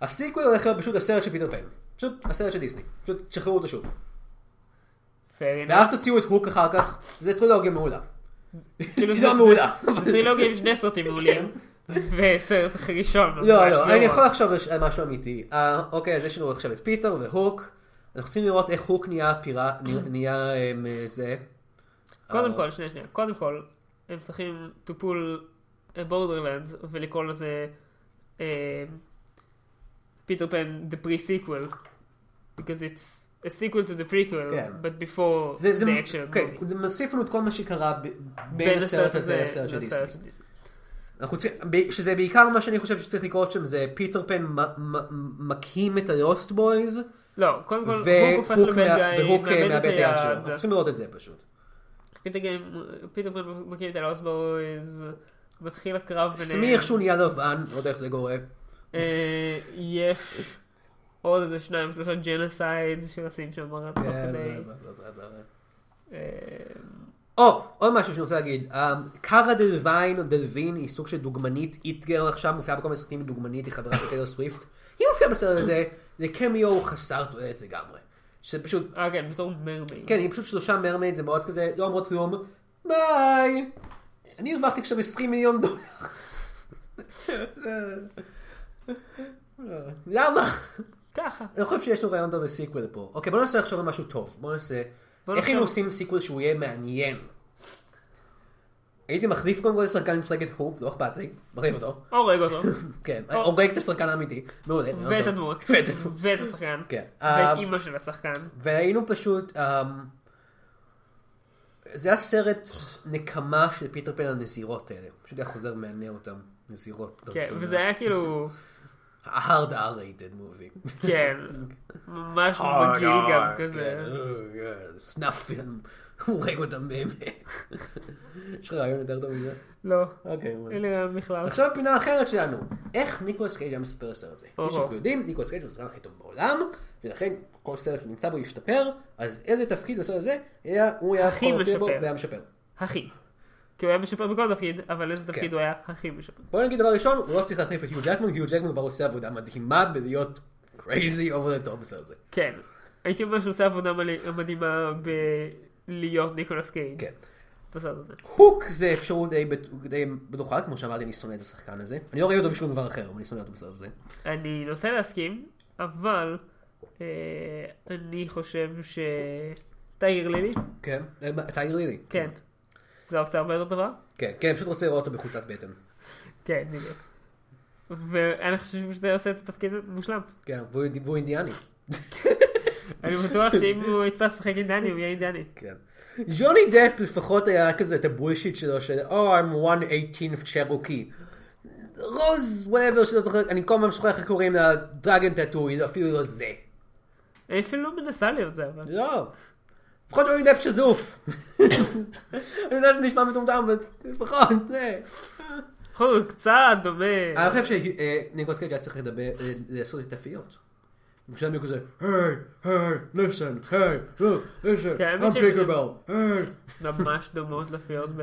הסיקוול הולך להיות פשוט הסרט של פיטר פן. פשוט הסרט של דיסני. פשוט תשחררו אותו שוב.
Fair enough.
ואז תוציאו את הוק אחר כך, זה טרילוגיה מעולה. [LAUGHS]
כאילו
זה
זה-
מעולה.
זה- זה טרילוגיה עם שני סרטים מעולים. וסרט ראשון.
לא,
ממש
לא, אני
רע.
יכול לחשוב על ש- על משהו אמיתי. אה, אוקיי, אז יש לנו עכשיו את פיטר והוק. אנחנו רוצים לראות איך הוק נהיה פירה, [LAUGHS] נהיה אמ, זה.
קודם
אה,
כל, שנייה, שנייה. קודם כל, הם צריכים to pull a borderlands ולקרוא לזה אה, פיטר פן the pre-sequel. because it's a sequel to the prequel,
כן.
but before
זה- זה-
the action.
כן,
movie.
זה מוסיף לנו את כל מה שקרה ב- בין הסרט הזה לסרט של דיסני.
דיסני.
אנחנו צריכים, ב- שזה בעיקר מה שאני חושב שצריך לקרות שם, זה פיטר פן מ- מ- מקים את הלוסט בויז,
לא, קודם כל, הוק הופך
והוק
לבן
מה-
גיא,
והוק אה,
מאבד את היד.
שלו. אנחנו צריכים לראות את זה פשוט.
פיטר גן- פיטר פן מקים את הלאוס בויז, מתחיל הקרב ביניהם.
סמי איכשהו נהיה לבן, לא יודע איך זה גורם.
אה, יש עוד איזה שניים, שלושה ג'נסיידס שעושים שם רק תוך
כן,
כדי.
לא, לא, לא, לא, לא.
אה,
או, עוד משהו שאני רוצה להגיד, אה, קארה דלווין או דלווין היא סוג של דוגמנית איטגר עכשיו, מופיעה בכל מיני סרטים עם דוגמנית, היא חברה של טיילר סוויפט, היא מופיעה בסרט הזה, זה קמיו חסר תועלת לגמרי. שפשוט,
אה, כן, בתור מרמי.
כן, היא פשוט שלושה מרמייד, זה מאוד כזה, לא אומרות כלום, ביי! אני הרווחתי עכשיו 20 מיליון דולר. זה- למה?
ככה.
אני חושב שיש לו רעיון טוב לסיקוול פה. אוקיי, בוא נעשה עכשיו משהו טוב. בוא נעשה...
בוא
איך
נעשה-
היינו עושים סיקוול שהוא יהיה מעניין? הייתי מחליף קודם כל שחקן עם שחקת הופ, לא אכפת לי, מחליף אותו.
הורג אותו.
[LAUGHS] כן,
או-
הורג את השחקן האמיתי. מעולה. רעיון
ואת
טוב.
הדמות.
לא [LAUGHS] ואת הדמות.
ואת השחקן.
כן.
ואת
אמ,
אימא של השחקן.
והיינו פשוט... אמ, זה היה סרט נקמה של פיטר פן על הנזירות האלה. פשוט היה חוזר מענה אותם, נזירות.
כן, וזה היה
[LAUGHS]
כאילו,
ה-hard R-rated movie.
כן, ממש
Oh
מגעיל גם
כן,
כזה.
אה? סנאף פילם, הוא הורג אותם באמת. יש לך רעיון יותר טוב מזה?
לא,
אוקיי. מעולה.
אין לי רעיון בכלל.
עכשיו פינה אחרת שלנו, איך ניקולס קייג' היה מספר סרט זה. כפי
אוהו.
שאנחנו יודעים, ניקולס קייג' הוא הסרט הכי טוב בעולם, ולכן כל סרט שנמצא בו ישתפר, אז איזה תפקיד בסרט הזה, היה- הוא היה
הכי
יכול להופיע בו
משפר.
והיה משפר.
הכי. כי הוא היה משפר בכל תפקיד, אבל איזה תפקיד
כן.
הוא היה הכי משפר.
בוא נגיד דבר ראשון, הוא לא צריך להחליף את היו ג'קמן, היו ג'קמן כבר עושה עבודה מדהימה בלהיות crazy over the top בסרט הזה.
כן. הייתי אומר שהוא עושה עבודה מלא- מדהימה בלהיות ניקולס קייג.
כן.
בסרט הזה.
הוק זה אפשרות די, בט- די בטוחה, כמו שאמרתי, אני שונא את השחקן הזה. אני לא ראיתי אותו בשום דבר אחר, אבל אני שונא אותו בסרט הזה.
אני נוטה להסכים, אבל אה, אני חושב ש... טייגר לילי?
כן? אה, מה, אתה העיר לי.
כן. זו האופציה הרבה יותר טובה?
כן, כן, פשוט רוצה לראות אותו בחולצת בטן.
כן, בדיוק. ואני חושב שזה עושה את התפקיד מושלם.
כן, והוא, והוא אינדיאני.
אני בטוח שאם הוא יצטרך לשחק אינדיאני, הוא יהיה אינדיאני.
כן. ג'וני דפ לפחות היה כזה את הבולשיט שלו של Oh, I'm 118 צ'רוקי. רוז, וואטאבר שלא זוכר, אני כל הזמן שוכח איך קוראים לה דרגן טאטו, היא אפילו לא זה.
אני אפילו לא מנסה להיות זה, אבל...
לא. לפחות ג'וני דפ [LAUGHS] שזוף. אני יודע שזה נשמע מטומטם, אבל לפחות זה.
בכל זאת, קצת דומה.
אני לא חושב שניקולס קייג' היה צריך לדבר, אה, לעשות את הפיות. למשל מי כזה, היי, היי, ליסן, היי, לא, ליסן,
כן, האמת
I'm
שהם-
פיקרבל, היי.
ממש דומות לפיות ב...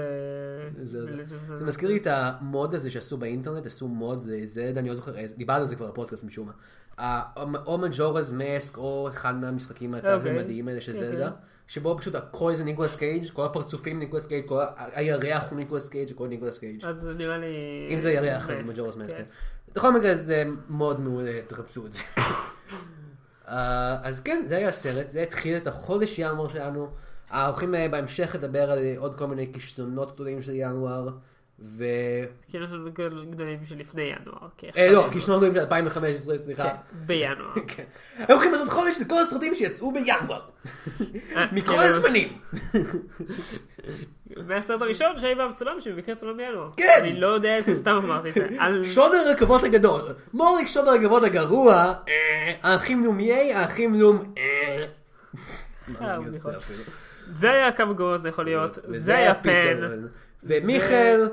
זה-
ב-
זה מזכיר לי את המוד הזה שעשו באינטרנט, עשו מוד, אה, זה אני לא זוכר, איזה- דיברנו על זה כבר בפודקאסט משום מה. ה- או מג'ורז מסק, או אחד מהמשחקים התלת-ממדיים האלה של
אוקיי.
זלדה, שבו פשוט הכל זה ניקולס קייג', כל הפרצופים ניקולס קייג', כל ה- הירח הוא ניקולס קייג', הכל ניקולס קייג'.
אז זה נראה לי...
אם זה ירח, אז
מסק,
מג'ורס מאסק.
כן.
בכל מקרה זה מאוד מעולה, תחפשו את זה. אה, אז כן, זה היה הסרט, זה התחיל את החודש ינואר שלנו. אנחנו הולכים אה, בהמשך לדבר על אה, עוד כל מיני כישלונות גדולים של ינואר. ו...
כאילו יש לנו גדול- גדולים שלפני ינואר. כי
אה,
אחד
לא,
ינואר.
כישלונות גדולים של 2015, סליחה.
כן, בינואר.
כן. הם הולכים לעשות חודש לכל הסרטים שיצאו בינואר.
אה,
מכל
כאילו,
הזמנים.
מהסרט הראשון שהיה באבצלום שבמקרה צולם בינואר.
כן.
אני לא יודע את זה, סתם אמרתי את
[LAUGHS]
זה. אל-
שוד הרכבות הגדול. מוריק שוד הרכבות הגרוע. אה, האחים לומיי, האחים לום... אה. מה אני עושה
בדיחות.
אפילו?
זה היה כמה גרוע זה יכול להיות. זה היה פן.
ומיכאל,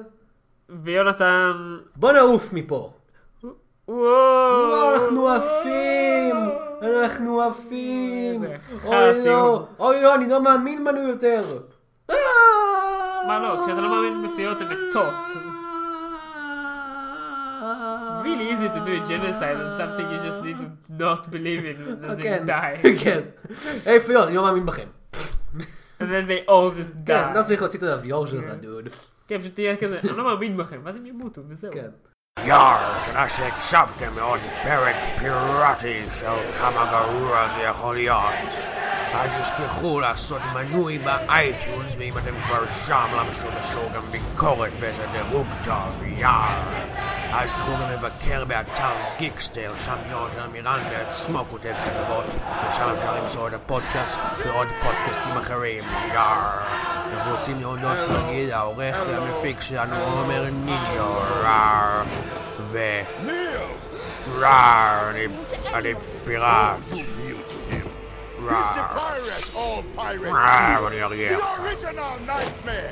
ויונתן...
בוא נעוף מפה.
וואו,
וואו, אנחנו עפים! אנחנו עפים!
איזה
אוי
חס,
לא!
יום.
אוי לא, אני לא מאמין בנו יותר!
מה לא, כשאתה לא מאמין בפיות הן מתות. Really easy to do a genocide on something you just need to not believe in and then
[LAUGHS] כן,
they die.
כן. היי פיות, אני לא מאמין בכם.
And then they all just
כן,
die.
לא צריך להוציא את הלוויור שלך, דוד.
כן, פשוט תהיה כזה, אני לא מאמין בכם, ואז הם ימותו, וזהו.
כן.
Yar, Knasek Shavke Meod Perek Pirati של כמה גרוע זה יכול להיות. אל תשכחו לעשות מנוי באייטיונס, ואם אתם כבר שם, למה שלא תשאירו גם ביקורת ואיזה דירוג טוב, יאר. אל תוכלו גם לבקר באתר גיקסטר, שם יונתן מירן בעצמו כותב כתבות, ושם אפשר למצוא את הפודקאסט ועוד פודקאסטים אחרים, יאר. אנחנו רוצים להודות כרגיל העורך והמפיק שלנו, עומר ניניו, יאר. ו... רער, אני... אני פיראט.
Yield to him. He's the
רער.
pirate, all pirates.
רער, אני אריה.
The original nightmare.